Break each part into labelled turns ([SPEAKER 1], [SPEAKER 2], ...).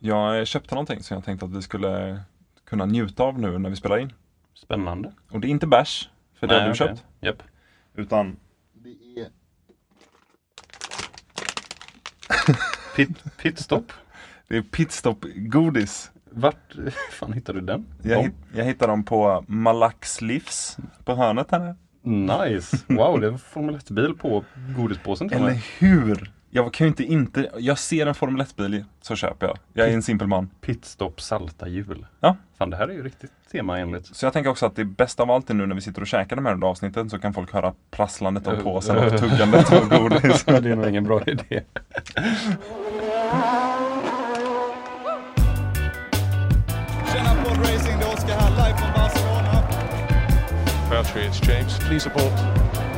[SPEAKER 1] Jag köpte någonting som jag tänkte att vi skulle kunna njuta av nu när vi spelar in.
[SPEAKER 2] Spännande.
[SPEAKER 1] Och det är inte bärs, för det har du
[SPEAKER 2] okej.
[SPEAKER 1] köpt.
[SPEAKER 2] Japp.
[SPEAKER 1] Utan
[SPEAKER 3] Det är
[SPEAKER 2] Pit, pitstop.
[SPEAKER 1] det är pitstop-godis.
[SPEAKER 2] Vart fan hittade du den?
[SPEAKER 1] Jag,
[SPEAKER 2] Dem?
[SPEAKER 1] hitt, jag hittade dem på Malax Livs på hörnet här. nere.
[SPEAKER 2] Nice! Wow, det är en Formel 1-bil på godispåsen till och
[SPEAKER 1] Eller
[SPEAKER 2] med.
[SPEAKER 1] hur? Jag kan ju inte inte, jag ser en Formel 1-bil så köper jag. Jag är en simpel man.
[SPEAKER 2] Pitstop salta hjul.
[SPEAKER 1] Ja.
[SPEAKER 2] Fan, det här är ju riktigt temaenligt.
[SPEAKER 1] Så jag tänker också att det bästa av allt är nu när vi sitter och käkar de här avsnitten så kan folk höra prasslandet av
[SPEAKER 2] Uh,
[SPEAKER 1] påsen
[SPEAKER 2] uh.
[SPEAKER 1] och tuggandet av godis.
[SPEAKER 2] det är nog ingen bra idé.
[SPEAKER 4] Tjena podracing, det är Oskar här live från Barcelona.
[SPEAKER 5] Valtteri, it's James. Please support.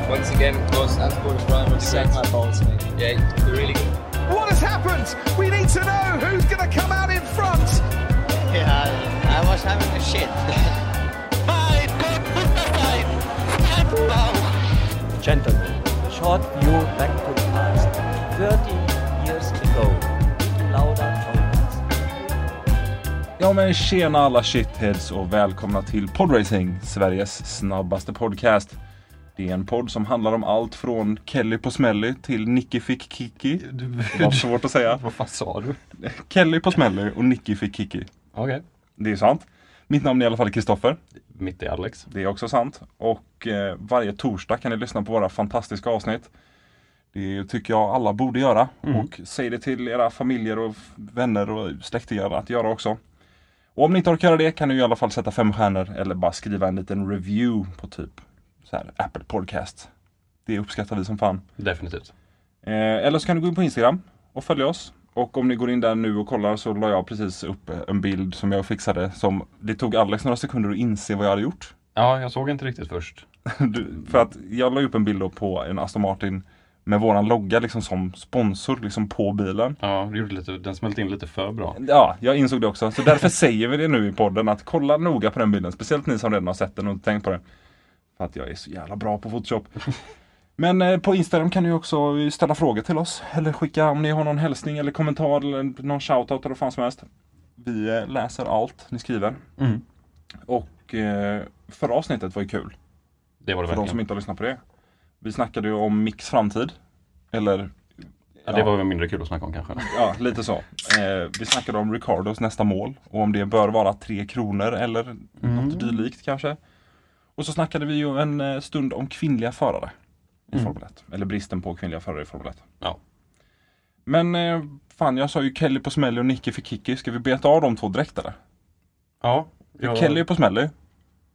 [SPEAKER 6] Once again, of course, as Sports Prime, sack my balls, mate. Yeah, they're really good.
[SPEAKER 4] What has happened? We need to know who's going to come out in front.
[SPEAKER 6] Yeah, I was having a shit.
[SPEAKER 7] Gentlemen, short view back to the past. 30 years ago, Lauda told us.
[SPEAKER 1] Ja men tjena alla shitheads och välkomna till Podracing, Sveriges snabbaste podcast. Det är en podd som handlar om allt från Kelly på Smelly till Nicky fick Kiki. Det var svårt att säga.
[SPEAKER 2] Vad fan sa du?
[SPEAKER 1] Kelly på Smelly och Nicky fick Kiki.
[SPEAKER 2] Okej.
[SPEAKER 1] Det är sant. Mitt namn är i alla fall Kristoffer.
[SPEAKER 2] Mitt i Alex.
[SPEAKER 1] Det är också sant. Och eh, varje torsdag kan ni lyssna på våra fantastiska avsnitt. Det tycker jag alla borde göra. Och säg det till era familjer och f- vänner och släktingar att göra också. Och om ni inte orkar göra det kan ni i alla fall sätta fem stjärnor eller bara skriva en liten review på typ så här, Apple Podcast. Det uppskattar vi som fan.
[SPEAKER 2] Definitivt.
[SPEAKER 1] Eh, eller så kan du gå in på Instagram och följa oss. Och om ni går in där nu och kollar så la jag precis upp eh, en bild som jag fixade som det tog Alex några sekunder att inse vad jag hade gjort.
[SPEAKER 2] Ja, jag såg inte riktigt först.
[SPEAKER 1] Du, för att jag la upp en bild då på en Aston Martin med våran logga liksom som sponsor liksom på bilen.
[SPEAKER 2] Ja, det gjorde lite, den smälte in lite för bra.
[SPEAKER 1] Ja, jag insåg det också. Så därför säger vi det nu i podden att kolla noga på den bilden. Speciellt ni som redan har sett den och inte tänkt på det. För att jag är så jävla bra på Photoshop. Men eh, på Instagram kan ni också ställa frågor till oss. Eller skicka om ni har någon hälsning eller kommentar eller någon shoutout eller vad fan som helst. Vi eh, läser allt ni skriver.
[SPEAKER 2] Mm.
[SPEAKER 1] Och eh, förra avsnittet var ju kul.
[SPEAKER 2] Det var det
[SPEAKER 1] För de
[SPEAKER 2] verkligen.
[SPEAKER 1] som inte har lyssnat på det. Vi snackade ju om Micks framtid. Eller
[SPEAKER 2] ja, det var väl mindre kul att snacka om kanske.
[SPEAKER 1] ja, lite så. Eh, vi snackade om Ricardos nästa mål och om det bör vara tre kronor eller något dylikt kanske. Och så snackade vi ju en eh, stund om kvinnliga förare i Formel 1. Eller bristen på kvinnliga förare i Formel 1.
[SPEAKER 2] Ja.
[SPEAKER 1] Men eh, fan, jag sa ju Kelly på Smelly och Nicky för Kiki. Ska vi beta av de två direkt eller?
[SPEAKER 2] Ja.
[SPEAKER 1] Ja. Kelly är på Smelly,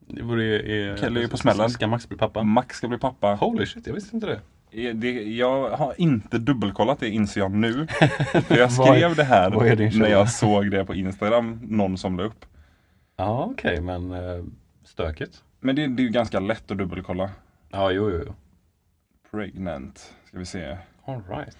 [SPEAKER 2] Det vore ju... eh,
[SPEAKER 1] Kelly är på smällen.
[SPEAKER 2] Ska Max bli pappa?
[SPEAKER 1] Max ska bli pappa.
[SPEAKER 2] Holy shit, jag visste inte det.
[SPEAKER 1] Eh, Det, jag har inte dubbelkollat det inser jag nu. För jag skrev det här
[SPEAKER 2] vad är din källa?
[SPEAKER 1] när jag såg det på Instagram, någon som la upp.
[SPEAKER 2] Ja, okej, men eh, stökigt.
[SPEAKER 1] Men det, det är ju ganska lätt att dubbelkolla.
[SPEAKER 2] Ja, jo, jo, jo.
[SPEAKER 1] Pregnant, ska vi se.
[SPEAKER 2] All right.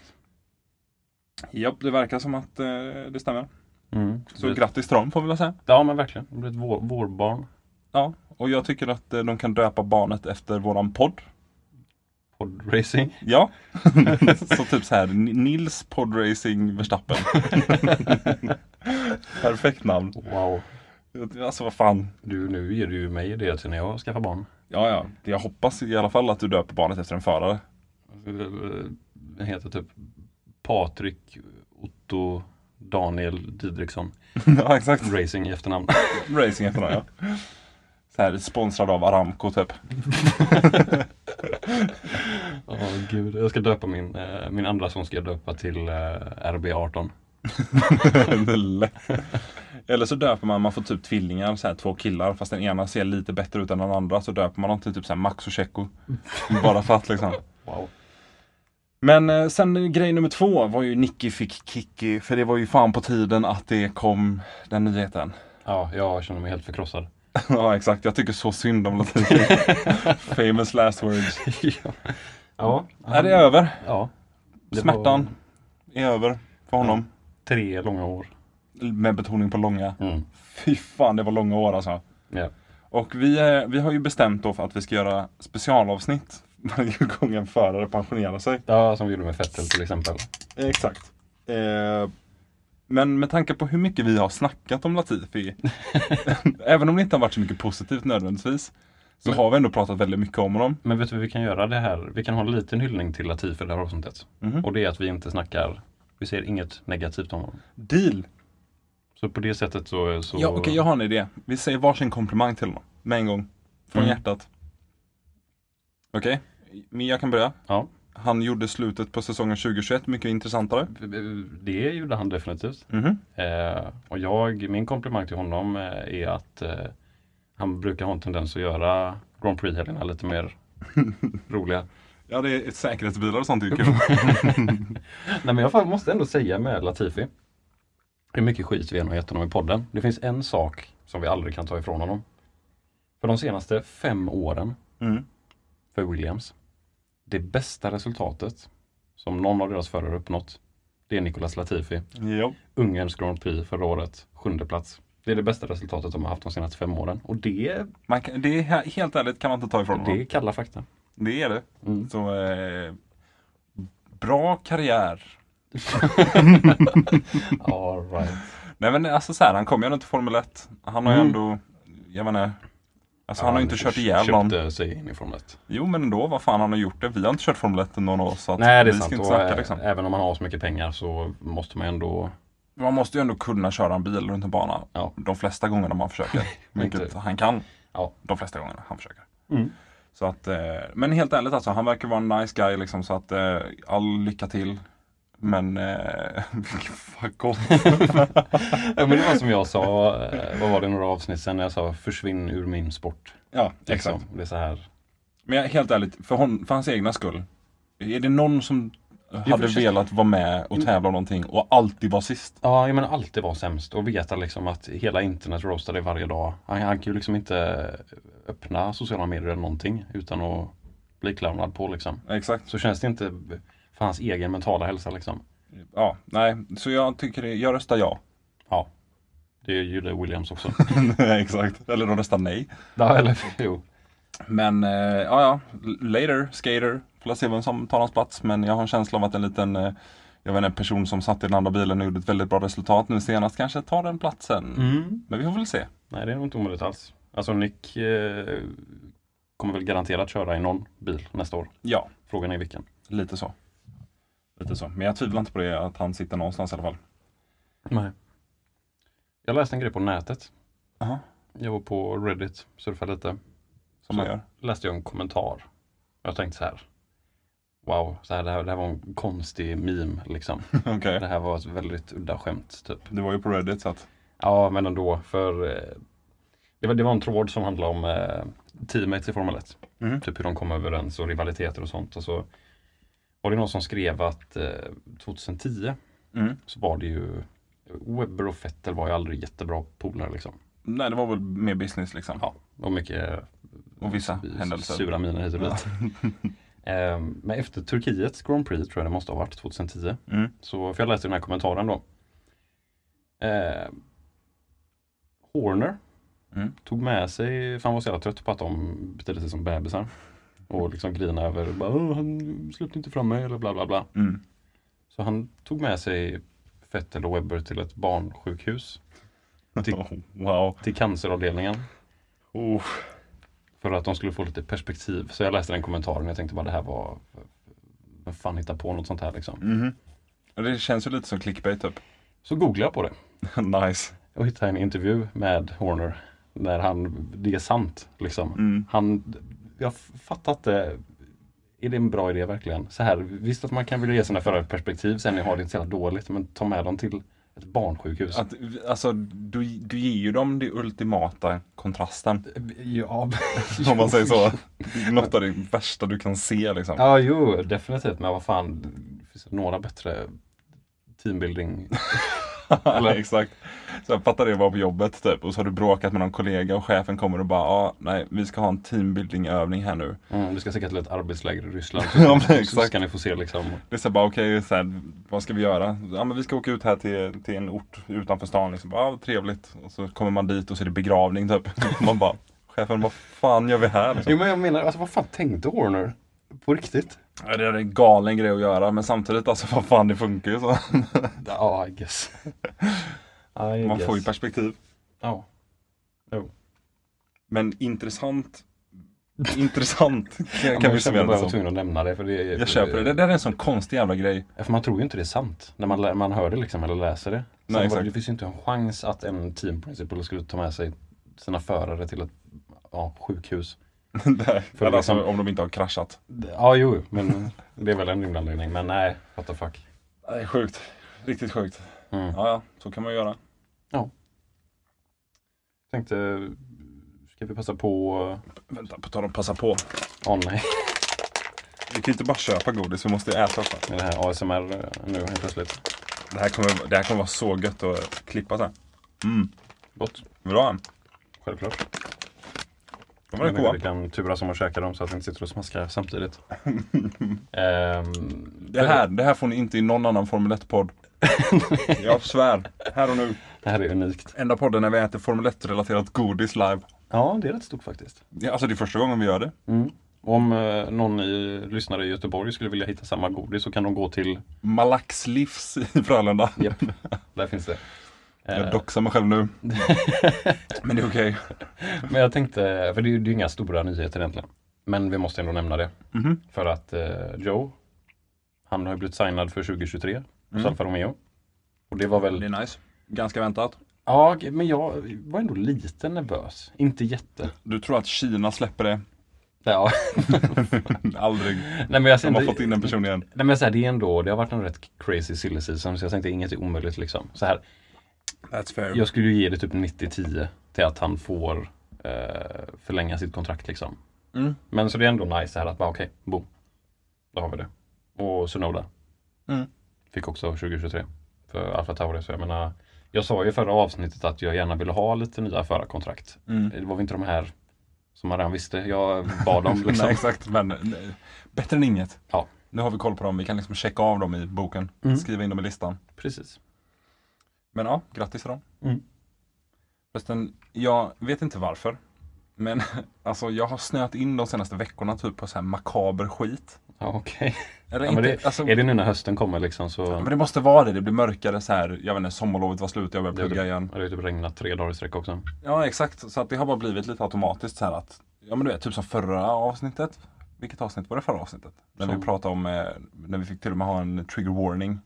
[SPEAKER 1] Japp, det verkar som att eh, det stämmer.
[SPEAKER 2] Mm.
[SPEAKER 1] Så
[SPEAKER 2] Det-
[SPEAKER 1] grattis till dem får vi väl säga.
[SPEAKER 2] Ja, men verkligen. Det blir ett vår, vårbarn.
[SPEAKER 1] Ja, och jag tycker att eh, de kan döpa barnet efter våran podd.
[SPEAKER 2] Podracing.
[SPEAKER 1] Ja, så typ så här N- Nils Podracing Verstappen. Perfekt namn.
[SPEAKER 2] Wow.
[SPEAKER 1] Alltså vad fan.
[SPEAKER 2] Du, nu ger du ju mig idéer till när jag skaffar barn.
[SPEAKER 1] Ja, ja. Jag hoppas i alla fall att du döper barnet efter en förare.
[SPEAKER 2] Den heter typ Patrik Otto Daniel Didriksson.
[SPEAKER 1] ja, exakt.
[SPEAKER 2] Racing i efternamn.
[SPEAKER 1] Racing heter den ja. Så här, sponsrad av Aramco typ.
[SPEAKER 2] Åh gud, jag ska döpa min, eh, min andra son ska jag döpa till eh, RB18.
[SPEAKER 1] Det är lätt. Eller så döper man, man får typ tvillingar, så här, två killar. Fast den ena ser lite bättre ut än den andra. Så döper man dem till typ så här Max och Checo. Bara för att liksom.
[SPEAKER 2] Wow.
[SPEAKER 1] Men eh, sen grej nummer två var ju Nicky fick Kiki. För det var ju fan på tiden att det kom den nyheten.
[SPEAKER 2] Ja, jag känner mig helt förkrossad.
[SPEAKER 1] ja exakt, jag tycker så synd om Latifi. Famous last words.
[SPEAKER 2] ja. Ja,
[SPEAKER 1] Är det är över?
[SPEAKER 2] ja. Det var
[SPEAKER 1] Smärtan är över för honom.
[SPEAKER 2] Tre långa år.
[SPEAKER 1] Med betoning på långa.
[SPEAKER 2] Mm.
[SPEAKER 1] Fy fan, det var långa år alltså.
[SPEAKER 2] Ja.
[SPEAKER 1] Och vi, eh, vi har ju bestämt då för att vi ska göra specialavsnitt varje gång en förare pensionerar sig.
[SPEAKER 2] ja, som vi gjorde med Fettel till exempel.
[SPEAKER 1] Exakt. Eh, Men med tanke på hur mycket vi har snackat om Latifi, även om det inte har varit så mycket positivt nödvändigtvis, så har vi ändå pratat väldigt mycket om honom.
[SPEAKER 2] Men vet du vad vi kan göra det här? Vi kan ha en liten hyllning till Latif i det här avsnittet.
[SPEAKER 1] Mhm.
[SPEAKER 2] Och det är att vi inte snackar, vi ser inget negativt om honom.
[SPEAKER 1] Deal!
[SPEAKER 2] Så på det sättet så... så
[SPEAKER 1] Ja, Okej, jag har en idé. Vi säger varsin komplimang till honom. Med en gång. Från
[SPEAKER 2] Mm.
[SPEAKER 1] hjärtat. Okej, men jag kan börja.
[SPEAKER 2] Ja.
[SPEAKER 1] Han gjorde slutet på säsongen 2021 mycket intressantare.
[SPEAKER 2] Det gjorde han definitivt.
[SPEAKER 1] Mhm.
[SPEAKER 2] Eh, och jag, min komplimang till honom eh, är att eh, han brukar ha en tendens att göra Grand Prix-helgerna lite mer roliga.
[SPEAKER 1] Ja, det är säkerhetsbilar och sånt är ju kul.
[SPEAKER 2] Nej men jag fa- måste ändå säga med Latifi hur mycket skit vi än har gett honom i podden. Det finns en sak som vi aldrig kan ta ifrån honom. För de senaste fem åren
[SPEAKER 1] Mm.
[SPEAKER 2] för Williams, det bästa resultatet som någon av deras förare uppnått, det är Nicolas Latifi.
[SPEAKER 1] Ja.
[SPEAKER 2] Ungerns Grand Prix förra året, sjunde plats. Det är det bästa resultatet de har haft de senaste fem åren. Och det,
[SPEAKER 1] Man kan, det är he- helt ärligt kan man inte ta ifrån
[SPEAKER 2] det är
[SPEAKER 1] honom.
[SPEAKER 2] kalla fakta.
[SPEAKER 1] Det är det.
[SPEAKER 2] Mm.
[SPEAKER 1] Så, eh, bra karriär.
[SPEAKER 2] All right.
[SPEAKER 1] Nej men alltså så här, han kom ju ändå till Formel 1. Han har ju
[SPEAKER 2] Mm.
[SPEAKER 1] ändå, jag menar, alltså han har ju inte kört ihjäl någon.
[SPEAKER 2] Köpte sig in i Formel 1.
[SPEAKER 1] Jo men ändå, vad fan han har gjort det. Vi har inte kört Formel 1 någon av oss. Så att
[SPEAKER 2] Nej, det
[SPEAKER 1] vi
[SPEAKER 2] är sant.
[SPEAKER 1] ska inte
[SPEAKER 2] Och,
[SPEAKER 1] snacka
[SPEAKER 2] eh,
[SPEAKER 1] liksom.
[SPEAKER 2] Även om man har så mycket pengar så måste man ändå...
[SPEAKER 1] Man måste ju ändå kunna köra en bil runt en bana.
[SPEAKER 2] Ja.
[SPEAKER 1] De flesta gångerna man försöker. Vilket
[SPEAKER 2] Inte.
[SPEAKER 1] han kan.
[SPEAKER 2] Ja.
[SPEAKER 1] De flesta gångerna han försöker.
[SPEAKER 2] Mm.
[SPEAKER 1] Så att, eh, men helt ärligt alltså, han verkar vara en nice guy liksom så att eh, all lycka till. Men eh, fuck off.
[SPEAKER 2] Ja, men det var som jag sa, eh, vad var det, några avsnitt sen när jag sa försvinn ur min sport.
[SPEAKER 1] ja,
[SPEAKER 2] Liksom.
[SPEAKER 1] exakt.
[SPEAKER 2] Det är så här.
[SPEAKER 1] Men jag, helt ärligt, för, hon, för hans egna skull. Är det någon som hade
[SPEAKER 2] förstår-
[SPEAKER 1] velat vara med och tävla om någonting och alltid vara sist?
[SPEAKER 2] Ja, jag menar alltid vara sämst och veta liksom att hela internet roastar dig varje dag. Han, han kan ju liksom inte öppna sociala medier eller någonting utan att bli clownad på liksom.
[SPEAKER 1] Exakt.
[SPEAKER 2] Så känns det inte för hans egen mentala hälsa liksom.
[SPEAKER 1] Ja, nej, så jag tycker det, jag röstar ja.
[SPEAKER 2] Ja, det gjorde Williams också.
[SPEAKER 1] Exakt. Eller de röstar nej.
[SPEAKER 2] ja, eller jo.
[SPEAKER 1] Men eh, ja, ja, later, skater. Får se vem som tar hans plats. Men jag har en känsla av att en liten, eh, jag vet inte, en person som satt i den andra bilen och gjorde ett väldigt bra resultat nu senast kanske tar den platsen.
[SPEAKER 2] Mm.
[SPEAKER 1] Men vi får väl se.
[SPEAKER 2] Nej, det är nog inte omöjligt alls. Alltså Nick eh, kommer väl garanterat köra i någon bil nästa år.
[SPEAKER 1] Ja,
[SPEAKER 2] Frågan är vilken.
[SPEAKER 1] lite så. Lite så. Men jag tvivlar inte på det, att han sitter någonstans i alla fall.
[SPEAKER 2] Nej. Jag läste en grej på nätet.
[SPEAKER 1] Aha.
[SPEAKER 2] Jag var på Reddit, surfade lite.
[SPEAKER 1] Som
[SPEAKER 2] Så-
[SPEAKER 1] man gör.
[SPEAKER 2] läste jag en kommentar. Jag tänkte så här. Wow, så här, det, här, det här var en konstig meme liksom.
[SPEAKER 1] Okej.
[SPEAKER 2] Det här var ett väldigt udda skämt typ.
[SPEAKER 1] Det var ju på Reddit så att.
[SPEAKER 2] Ja, men ändå. För eh, det var, det var en tråd som handlade om eh, teammates i Formel 1.
[SPEAKER 1] Mhm.
[SPEAKER 2] Typ hur de kom överens och rivaliteter och sånt. Och så var det någon som skrev att eh, 2010
[SPEAKER 1] Mm.
[SPEAKER 2] så var det ju Webber och Vettel var ju aldrig jättebra polare liksom.
[SPEAKER 1] Nej, det var väl mer business liksom.
[SPEAKER 2] Ja, och mycket eh,
[SPEAKER 1] Och vissa händelser.
[SPEAKER 2] Sura miner hit och dit. Ehm, Men efter Turkiets Grand Prix tror jag det måste ha varit 2010.
[SPEAKER 1] Mm.
[SPEAKER 2] Så, för jag läste den här kommentaren då. Ehm, Horner
[SPEAKER 1] Mm.
[SPEAKER 2] tog med sig, för han var så jävla trött på att de betedde sig som bebisar. Och liksom grinade över, bara, "Åh, han släppte inte fram mig eller bla bla bla.
[SPEAKER 1] Mm.
[SPEAKER 2] Så han tog med sig Vettel och Webber till ett barnsjukhus,
[SPEAKER 1] Oh, wow.
[SPEAKER 2] till canceravdelningen.
[SPEAKER 1] Oh.
[SPEAKER 2] För att de skulle få lite perspektiv. Så jag läste den kommentaren och jag tänkte bara det här var vem fan hittar på något sånt här liksom.
[SPEAKER 1] Mhm. Det känns ju lite som clickbait typ.
[SPEAKER 2] Så googlade jag på det
[SPEAKER 1] nice.
[SPEAKER 2] och hittade en intervju med Horner. När han, det är sant liksom.
[SPEAKER 1] Mm.
[SPEAKER 2] Han, jag fattar inte. Är det en bra idé verkligen? Så här, visst att man kan vilja ge sina förare perspektiv sen när har det inte så jävla dåligt. Men ta med dem till ett barnsjukhus.
[SPEAKER 1] Att, alltså, du, du ger ju dem den ultimata kontrasten.
[SPEAKER 2] ja,
[SPEAKER 1] eh, Om man säger så. Något av det värsta du kan se liksom.
[SPEAKER 2] Ja, jo, definitivt. Men vad fan, det finns några bättre teambuilding eller-
[SPEAKER 1] Exakt. Så jag fattar det var på jobbet typ. Och så har du bråkat med någon kollega och chefen kommer och bara ah, nej, vi ska ha en teambuildingövning här nu.
[SPEAKER 2] Mm, vi ska säkert till ett arbetsläger i Ryssland.
[SPEAKER 1] Ja, men
[SPEAKER 2] så
[SPEAKER 1] exakt.
[SPEAKER 2] ska ni få se liksom.
[SPEAKER 1] Det är så här bara okej, så här, vad ska vi göra? Ja men vi ska åka ut här till, till en ort utanför stan liksom. Bara, ah, vad trevligt. Och så kommer man dit och så är det begravning typ. Man bara, chefen vad fan gör vi här? Liksom.
[SPEAKER 2] Jo men jag menar, alltså, vad fan tänkte Horner? På riktigt?
[SPEAKER 1] Ja, Det är en galen grej att göra men samtidigt alltså vad fan det funkar ju så.
[SPEAKER 2] Ja, I guess. I
[SPEAKER 1] Man
[SPEAKER 2] guess.
[SPEAKER 1] får ju perspektiv.
[SPEAKER 2] Ja.
[SPEAKER 1] Men intressant. Intressant kan, kan
[SPEAKER 2] Men
[SPEAKER 1] vi
[SPEAKER 2] jag kände
[SPEAKER 1] summera det
[SPEAKER 2] bara jag var
[SPEAKER 1] som.
[SPEAKER 2] tvungen att nämna det. För det är,
[SPEAKER 1] Jag köper det. Det där är en sån konstig jävla grej.
[SPEAKER 2] För man tror ju inte det är sant när man, lä- man hör det liksom eller läser det. Sen
[SPEAKER 1] Nej,
[SPEAKER 2] var, det
[SPEAKER 1] exakt.
[SPEAKER 2] finns ju inte en chans att en team principal skulle ta med sig sina förare till ett ja, sjukhus.
[SPEAKER 1] Nej,
[SPEAKER 2] För
[SPEAKER 1] eller alltså,
[SPEAKER 2] liksom-
[SPEAKER 1] om de inte har kraschat.
[SPEAKER 2] Ja, jo, jo, men det är väl en rimlig anledning. Men nej, what the fuck.
[SPEAKER 1] Nej, sjukt. Riktigt sjukt.
[SPEAKER 2] Mm.
[SPEAKER 1] Ja, ja, så kan man göra.
[SPEAKER 2] Tänkte, ska vi passa på...
[SPEAKER 1] Vänta, på tal om passa på.
[SPEAKER 2] Åh nej,
[SPEAKER 1] Vi kan inte bara köpa godis, vi måste ju äta också.
[SPEAKER 2] med det här ASMR eh, nu helt plötsligt.
[SPEAKER 1] Det här kommer, det här kommer vara så gött att klippa sen. Mm.
[SPEAKER 2] Gott,
[SPEAKER 1] Vill du ha en?
[SPEAKER 2] självklart.
[SPEAKER 1] De var
[SPEAKER 2] Men
[SPEAKER 1] rätt
[SPEAKER 2] nu
[SPEAKER 1] goda.
[SPEAKER 2] Vi kan turas om att käka dem så att vi inte sitter och smaskar samtidigt. Ehm,
[SPEAKER 1] Det här, det här får ni inte i någon annan Formel 1-podd. Jag svär. Här och nu.
[SPEAKER 2] det här är unikt.
[SPEAKER 1] Enda podden när vi äter Formel 1-relaterat godis live.
[SPEAKER 2] Ja, det är rätt stort faktiskt.
[SPEAKER 1] Ja, Alltså det är första gången vi gör det.
[SPEAKER 2] Om eh, någon i, lyssnare i Göteborg skulle vilja hitta samma godis så kan de gå till...
[SPEAKER 1] Malax Livs i Frölunda.
[SPEAKER 2] Japp, där finns det. Eh,
[SPEAKER 1] Jag doxar mig själv nu. Men det är okej.
[SPEAKER 2] Men jag tänkte, för det är ju det är ju inga stora nyheter egentligen. Men vi måste ändå nämna det.
[SPEAKER 1] Mhm.
[SPEAKER 2] För att eh, Joe, han har ju blivit signad för 2023 hos Alfa Romeo. Och Mm. det var väl...
[SPEAKER 1] är nice. Ganska väntat.
[SPEAKER 2] Ja, men jag var ändå lite nervös. Inte jätte.
[SPEAKER 1] Du tror att Kina släpper det?
[SPEAKER 2] Ja.
[SPEAKER 1] Aldrig.
[SPEAKER 2] Nej men jag
[SPEAKER 1] De har
[SPEAKER 2] kände,
[SPEAKER 1] fått in en person igen.
[SPEAKER 2] nej, men så här, det är ändå, det har varit en rätt crazy silly season så jag tänkte inget är omöjligt liksom. Så här,
[SPEAKER 1] That's fair.
[SPEAKER 2] jag skulle ju ge det typ 90-10 till att han får eh, förlänga sitt kontrakt liksom.
[SPEAKER 1] Mm.
[SPEAKER 2] Men så det är ändå nice så här att bara okej, boom. Då har vi det. Och Sunoda.
[SPEAKER 1] Mm.
[SPEAKER 2] Fick också 2023 för Alfa Tauri. Så jag menar, jag sa ju i förra avsnittet att jag gärna ville ha lite nya förarkontrakt.
[SPEAKER 1] Mm.
[SPEAKER 2] Det var väl inte de här som man redan visste. Jag bad om liksom.
[SPEAKER 1] Nej, exakt, men nej. bättre än inget.
[SPEAKER 2] Ja.
[SPEAKER 1] Nu har vi koll på dem, vi kan liksom checka av dem i boken,
[SPEAKER 2] Mm.
[SPEAKER 1] skriva in dem i listan.
[SPEAKER 2] Precis.
[SPEAKER 1] Men ja, grattis till dem.
[SPEAKER 2] Mm.
[SPEAKER 1] Förresten, jag vet inte varför. Men alltså jag har snöat in de senaste veckorna typ på så här makaber skit.
[SPEAKER 2] Ja, okej.
[SPEAKER 1] Eller
[SPEAKER 2] Ja,
[SPEAKER 1] inte,
[SPEAKER 2] men det,
[SPEAKER 1] alltså,
[SPEAKER 2] Är det nu när hösten kommer liksom så.
[SPEAKER 1] men det måste vara det, det blir mörkare så här. Jag vet inte, sommarlovet var slut, jag
[SPEAKER 2] Det är
[SPEAKER 1] började plugga igen.
[SPEAKER 2] Det har ju typ regnat tre dagar i sträck också.
[SPEAKER 1] Ja exakt, så att det har bara blivit lite automatiskt så här att Ja men du vet, typ som förra avsnittet Vilket avsnitt var det förra avsnittet? När
[SPEAKER 2] Som-
[SPEAKER 1] vi pratade om, eh, när vi fick till och med ha en trigger warning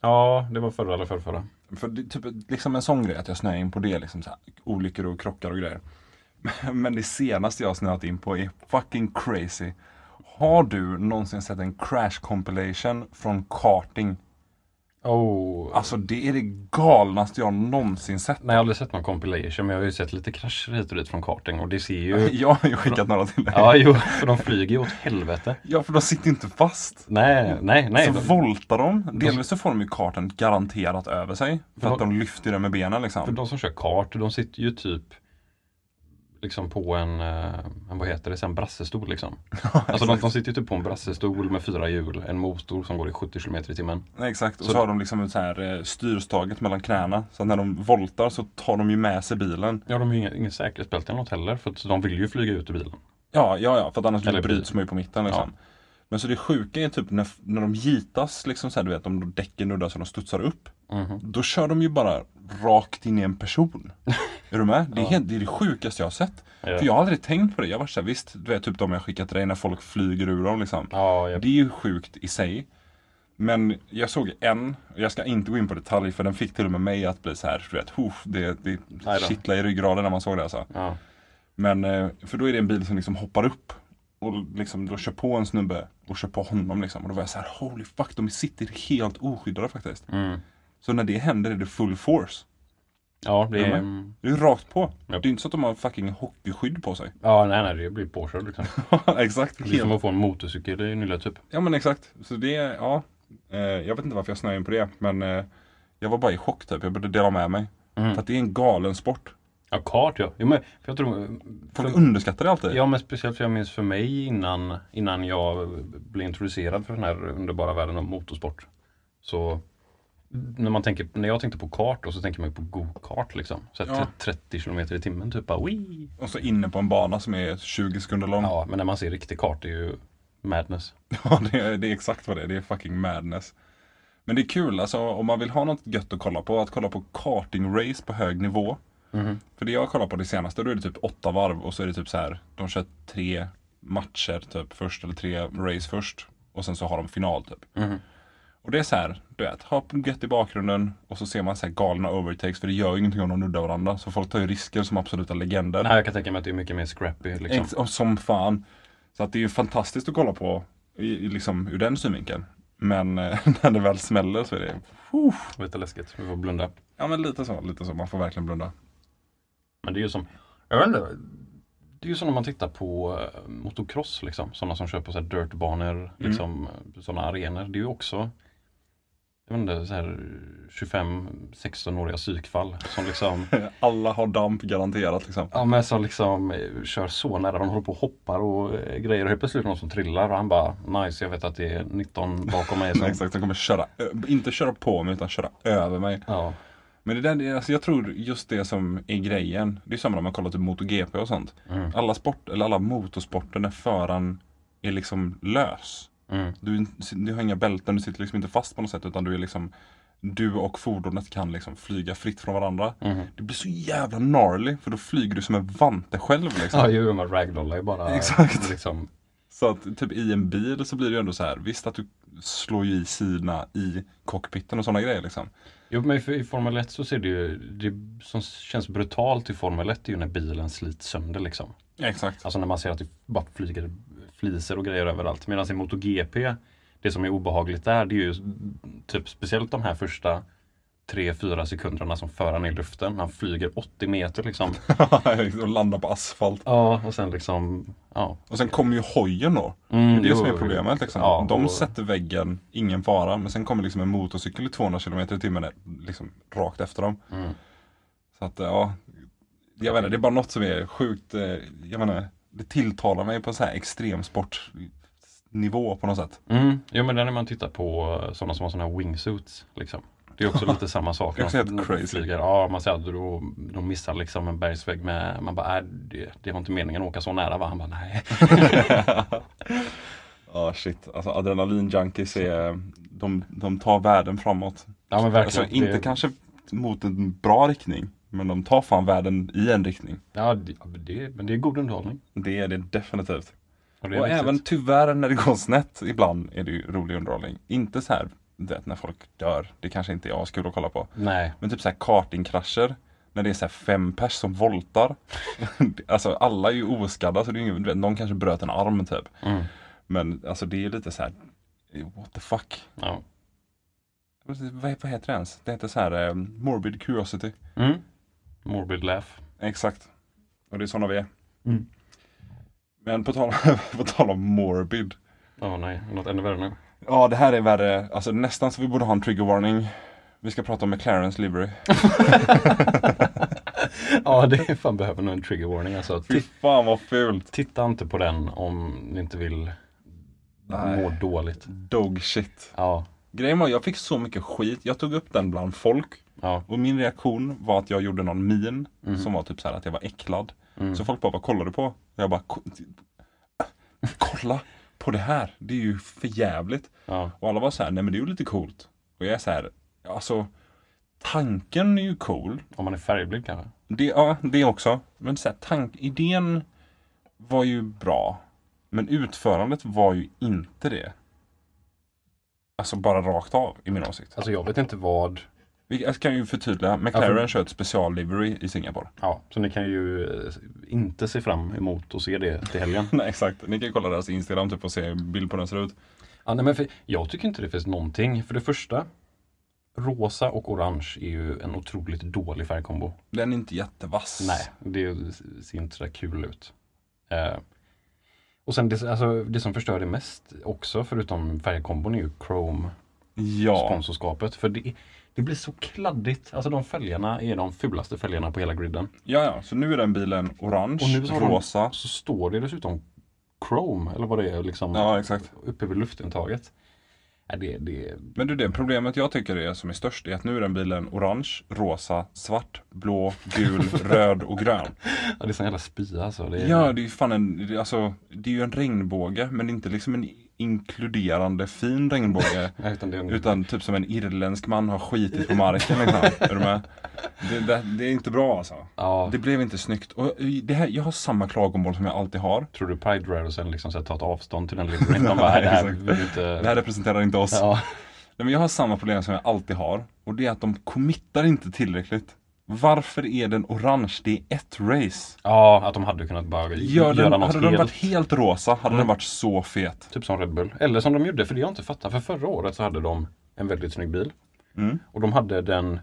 [SPEAKER 2] Ja, det var förra eller förrförra.
[SPEAKER 1] För det, är typ, liksom en sån grej att jag snöar in på det liksom så här, Olyckor och krockar och grejer Men det senaste jag har snöat in på är fucking crazy Har du någonsin sett en crash compilation från karting?
[SPEAKER 2] Oh.
[SPEAKER 1] Alltså det är det galnaste jag någonsin sett
[SPEAKER 2] Nej, jag har aldrig sett någon compilation, men jag har ju sett lite krascher hit och dit från karting och det ser ju...
[SPEAKER 1] Jag har ju skickat några till dig
[SPEAKER 2] Ja, jo, för de flyger ju åt helvete.
[SPEAKER 1] Ja för de sitter ju inte fast
[SPEAKER 2] Nej, nej, nej.
[SPEAKER 1] så
[SPEAKER 2] De,
[SPEAKER 1] voltar de. Delvis så får de ju kartan garanterat över sig. För att de lyfter den med benen
[SPEAKER 2] för
[SPEAKER 1] liksom.
[SPEAKER 2] de som kör kart, de sitter ju typ liksom på en, eh, en vad heter det, så en brassestol liksom. Alltså de, de sitter ju typ på en brassestol med fyra hjul, en motor som går i 70 km i timmen.
[SPEAKER 1] Nej, exakt. Och så, har de liksom ett så här eh, styrstaget mellan knäna. Så att när de voltar så tar de ju med sig bilen.
[SPEAKER 2] Ja, de har ju inget, inget säkerhetsbälte eller något heller, för att de vill ju flyga ut ur bilen.
[SPEAKER 1] Ja, ja, ja. För att annars
[SPEAKER 2] Eller
[SPEAKER 1] bryts man ju på mitten liksom. Men så det sjuka är typ när, när de gitas, liksom så här, du vet om de däcken nuddas och de studsar upp.
[SPEAKER 2] Mhm.
[SPEAKER 1] Då kör de ju bara rakt in i en person. är du med? Det är, helt, det är det sjukaste jag har sett.
[SPEAKER 2] Ja.
[SPEAKER 1] För jag har aldrig tänkt på det. Jag var såhär, visst, du vet typ de jag skickat till dig när folk flyger ur dem liksom.
[SPEAKER 2] Ja, jag,
[SPEAKER 1] Det är ju sjukt i sig. Men jag såg en, och jag ska inte gå in på detalj för den fick till och med mig att bli så här, du vet, hoof, det, det
[SPEAKER 2] då.
[SPEAKER 1] kittlade i ryggraden när man såg det alltså.
[SPEAKER 2] ja.
[SPEAKER 1] Men, eh, för då är det en bil som liksom hoppar upp och liksom då kör på en snubbe och kör på honom liksom. Och då var jag så här, holy fuck, de sitter helt oskyddade faktiskt.
[SPEAKER 2] Mm.
[SPEAKER 1] Så när det händer är det full force.
[SPEAKER 2] ja, det
[SPEAKER 1] Är
[SPEAKER 2] är...
[SPEAKER 1] du Det är rakt på. Det
[SPEAKER 2] Japp.
[SPEAKER 1] är inte så att de har fucking hockeyskydd på sig.
[SPEAKER 2] Ja, nej, nej, det blir påkörd liksom.
[SPEAKER 1] Exakt.
[SPEAKER 2] Det är som
[SPEAKER 1] helt-
[SPEAKER 2] att få en motorcykel i nylla typ.
[SPEAKER 1] Ja men exakt. Så det, ja. Eh, jag vet inte varför jag snöade in på det. Men eh, jag var bara i chock typ. Jag började dela med mig.
[SPEAKER 2] Mm.
[SPEAKER 1] För att det är en galen sport.
[SPEAKER 2] Ja, kart ja. Jo, men, för jag tror,
[SPEAKER 1] Folk underskattar det alltid.
[SPEAKER 2] ja, men speciellt för jag minns för mig innan, innan jag blev introducerad för den här underbara världen av motorsport. Så när, man tänker, när jag tänkte på kart då, så tänker man ju på go-kart liksom. Så här
[SPEAKER 1] Ja.
[SPEAKER 2] 30 km i timmen typ. Bara, wii.
[SPEAKER 1] Och så inne på en bana som är 20 sekunder lång.
[SPEAKER 2] Ja, men när man ser riktig kart det är ju Madness.
[SPEAKER 1] Ja, det är, det är exakt vad det är. Det är fucking madness. Men det är kul, alltså om man vill ha något gött att kolla på, att kolla på karting-race på hög nivå. För det jag kollar på det senaste, då är det typ åtta varv och så är det typ så här, de kör tre matcher typ först, eller tre race först. Och sen så har de final typ. Och det är så här, du vet, ha gött i bakgrunden och så ser man så här galna overtakes, för det gör ju ingenting om de nuddar varandra. Så folk tar ju risker som absoluta legender.
[SPEAKER 2] Nej, jag kan tänka mig att det är mycket mer scrappy liksom.
[SPEAKER 1] Ex- och som fan. Så att det är ju fantastiskt att kolla på i, i liksom, ur den synvinkeln. Men eh, när det väl smäller så är det
[SPEAKER 2] Lite läskigt. Vi får blunda.
[SPEAKER 1] ja, men lite så, lite så. Man får verkligen blunda.
[SPEAKER 2] Men det är ju som, jag vet inte. Det är ju som när man tittar på eh, motocross liksom. Sådana som kör på så här dirtbanor, liksom sådana arenor. Det är ju också, jag vet inte, så här 25-16-åriga psykfall som liksom
[SPEAKER 1] Alla har damp garanterat liksom.
[SPEAKER 2] Ja men som liksom eh, kör så nära, de håller på och hoppar och eh, grejer och helt plötsligt är det någon som trillar och han bara nice jag vet att det är 19 bakom mig som...
[SPEAKER 1] Exakt, de kommer köra, ö- inte köra på mig utan köra över mig.
[SPEAKER 2] Ja.
[SPEAKER 1] Men det där, det är- alltså jag tror just det som är grejen. Det är samma när man kollar typ MotoGP och sånt.
[SPEAKER 2] Mm.
[SPEAKER 1] Alla, sport, eller alla motorsporter när föraren är liksom lös.
[SPEAKER 2] Mm.
[SPEAKER 1] Du, du har inga bälten, du sitter liksom inte fast på något sätt utan du är liksom Du och fordonet kan liksom flyga fritt från varandra.
[SPEAKER 2] Mm.
[SPEAKER 1] Det blir så jävla gnarly för då flyger du som en vante själv liksom.
[SPEAKER 2] Ja ju men ragdollar är bara
[SPEAKER 1] Exakt.
[SPEAKER 2] liksom
[SPEAKER 1] Så att typ i en bil så blir det ju ändå så här. Visst att du slår ju i sidorna i cockpiten och sådana grejer liksom.
[SPEAKER 2] Jo men i- i Formel 1 så ser det ju, det som känns brutalt i Formel 1 är ju när bilen slits sönder liksom.
[SPEAKER 1] Exakt.
[SPEAKER 2] Alltså när man ser att det bara flyger fliser och grejer överallt. Medan i MotoGP, det som är obehagligt där det är ju typ speciellt de här första 3-4 sekunderna som föraren är i luften. Han flyger 80 meter liksom.
[SPEAKER 1] och landar på asfalt.
[SPEAKER 2] Ja, och sen liksom, ja.
[SPEAKER 1] Och sen kommer ju hojen då.
[SPEAKER 2] Mm,
[SPEAKER 1] det är det som är
[SPEAKER 2] jo.
[SPEAKER 1] problemet. Liksom.
[SPEAKER 2] Ja,
[SPEAKER 1] de
[SPEAKER 2] och-
[SPEAKER 1] sätter väggen, ingen fara. Men sen kommer liksom en motorcykel i 200 km i timmen liksom, rakt efter dem.
[SPEAKER 2] Mm.
[SPEAKER 1] Så att ja, jag vet inte, det är bara något som är sjukt, eh, jag menar, det tilltalar mig på en sån här extremsportnivå på något sätt.
[SPEAKER 2] Mm. Jo men där när man tittar på sådana som har sådana här wingsuits liksom. Det är också lite samma sak.
[SPEAKER 1] Det är också
[SPEAKER 2] när
[SPEAKER 1] helt
[SPEAKER 2] de
[SPEAKER 1] crazy.
[SPEAKER 2] Flyger. Ja, man ser att de, de missar liksom en bergsvägg med, man bara, äh, det, det var inte meningen att åka så nära va? Han bara, nej.
[SPEAKER 1] Ja shit, alltså adrenalinjunkies är, de, de tar världen framåt.
[SPEAKER 2] Ja men
[SPEAKER 1] Alltså
[SPEAKER 2] verkligen. det-
[SPEAKER 1] inte kanske mot en bra riktning, men de tar fan världen i en riktning.
[SPEAKER 2] Ja, det, ja, men det, men det är god underhållning.
[SPEAKER 1] Det är det definitivt.
[SPEAKER 2] Och det är
[SPEAKER 1] Och
[SPEAKER 2] viktigt.
[SPEAKER 1] även tyvärr när det går snett ibland är det ju rolig underhållning. Inte så här du vet, när folk dör, det kanske inte är askul att kolla på.
[SPEAKER 2] Nej.
[SPEAKER 1] Men typ så här kartingkrascher, när det är så här fem pers som voltar. alltså alla är ju oskadda, så det är ingen, du vet, någon kanske bröt en arm typ.
[SPEAKER 2] Mm.
[SPEAKER 1] Men alltså det är lite så här, what the fuck.
[SPEAKER 2] Ja.
[SPEAKER 1] Vad, vad heter det ens? Det heter så här eh, morbid curiosity.
[SPEAKER 2] Mm. Morbid laugh.
[SPEAKER 1] Exakt. Och det är sådana vi är.
[SPEAKER 2] Mm.
[SPEAKER 1] Men på tal, på tal om morbid.
[SPEAKER 2] Åh nej, något ännu värre nu.
[SPEAKER 1] Ja, det här är värre. Alltså nästan så vi borde ha en trigger warning. Vi ska prata om McLarens livery.
[SPEAKER 2] Ja, det är fan behöver nog en trigger warning alltså.
[SPEAKER 1] Fy
[SPEAKER 2] Ti-
[SPEAKER 1] fan vad fult.
[SPEAKER 2] Titta inte på den om ni inte vill
[SPEAKER 1] Nej.
[SPEAKER 2] må dåligt.
[SPEAKER 1] Dog shit.
[SPEAKER 2] Ja,
[SPEAKER 1] Grejen var, jag fick så mycket skit. Jag tog upp den bland folk.
[SPEAKER 2] ja.
[SPEAKER 1] Och min reaktion var att jag gjorde någon min som var typ så här att jag var äcklad. Så folk bara, vad kollar du på? Och jag bara, "Ko- kolla på det här. Det är ju för jävligt.
[SPEAKER 2] Ja.
[SPEAKER 1] Och alla var så här, nej men det är ju lite coolt. Och jag är så här, alltså tanken är ju cool.
[SPEAKER 2] Om man är färgblind kanske.
[SPEAKER 1] Det, ja, det också. Men så här, tank, idén var ju bra. Men utförandet var ju inte det. Alltså bara rakt av i min åsikt.
[SPEAKER 2] Alltså jag vet inte vad.
[SPEAKER 1] Vi jag kan ju förtydliga. McLaren kör ett special livery i Singapore.
[SPEAKER 2] Ja, så ni kan ju eh, inte se fram emot att se det till helgen.
[SPEAKER 1] Nej exakt. Ni kan ju kolla deras Instagram typ och se hur bild på den ser ut.
[SPEAKER 2] Ja, nej, men för, jag tycker inte det finns någonting. För det första, rosa och orange är ju en otroligt dålig färgkombo.
[SPEAKER 1] Den är inte jättevass.
[SPEAKER 2] Nej, det ser inte så där kul ut. Eh, och sen det, alltså, det som förstör det mest också, förutom färgkombon, är ju Chrome-sponsorskapet.
[SPEAKER 1] Ja.
[SPEAKER 2] För det, det blir så kladdigt. Alltså de fälgarna är de fulaste fälgarna på hela griden.
[SPEAKER 1] ja, ja. Så nu är den bilen
[SPEAKER 2] Och
[SPEAKER 1] orange,
[SPEAKER 2] nu så har
[SPEAKER 1] rosa.
[SPEAKER 2] De, så står det dessutom Chrome, eller vad det är, liksom,
[SPEAKER 1] Ja exakt.
[SPEAKER 2] uppe vid luftintaget. Nej, det, det,
[SPEAKER 1] Men du, det problemet jag tycker är som är störst är att nu är den bilen orange, rosa, svart, blå, gul, röd och grön.
[SPEAKER 2] ja, det är sån jävla spya alltså. Det är,
[SPEAKER 1] Ja, det är ju fan en, det- alltså, det är ju en regnbåge men inte liksom en inkluderande fin regnbåge.
[SPEAKER 2] Nej, Utan det är
[SPEAKER 1] utan typ som en irländsk man har skitit på marken. Liksom. Är du med? Det, det, det är inte bra alltså.
[SPEAKER 2] Ja.
[SPEAKER 1] Det blev inte snyggt. Och eh, det här, jag har samma klagomål som jag alltid har.
[SPEAKER 2] Tror du Pride-rörelsen liksom så här, tar ett avstånd till den livraren? De bara, "Nej, det här
[SPEAKER 1] exakt.
[SPEAKER 2] vill vi inte...
[SPEAKER 1] Det här representerar inte oss.
[SPEAKER 2] Ja.
[SPEAKER 1] Nej, men jag har samma problem som jag alltid har. Och det är att de committar inte tillräckligt. Varför är den orange? Det är ett race.
[SPEAKER 2] ja, att de hade kunnat bara
[SPEAKER 1] Gör
[SPEAKER 2] göra
[SPEAKER 1] den, hade
[SPEAKER 2] något
[SPEAKER 1] den
[SPEAKER 2] helt. Mm.
[SPEAKER 1] varit helt rosa hade den varit så fet.
[SPEAKER 2] Typ som Red Bull. Eller som de gjorde, för det jag inte fattar. För förra året så hade de en väldigt snygg bil.
[SPEAKER 1] Mm.
[SPEAKER 2] Och de hade den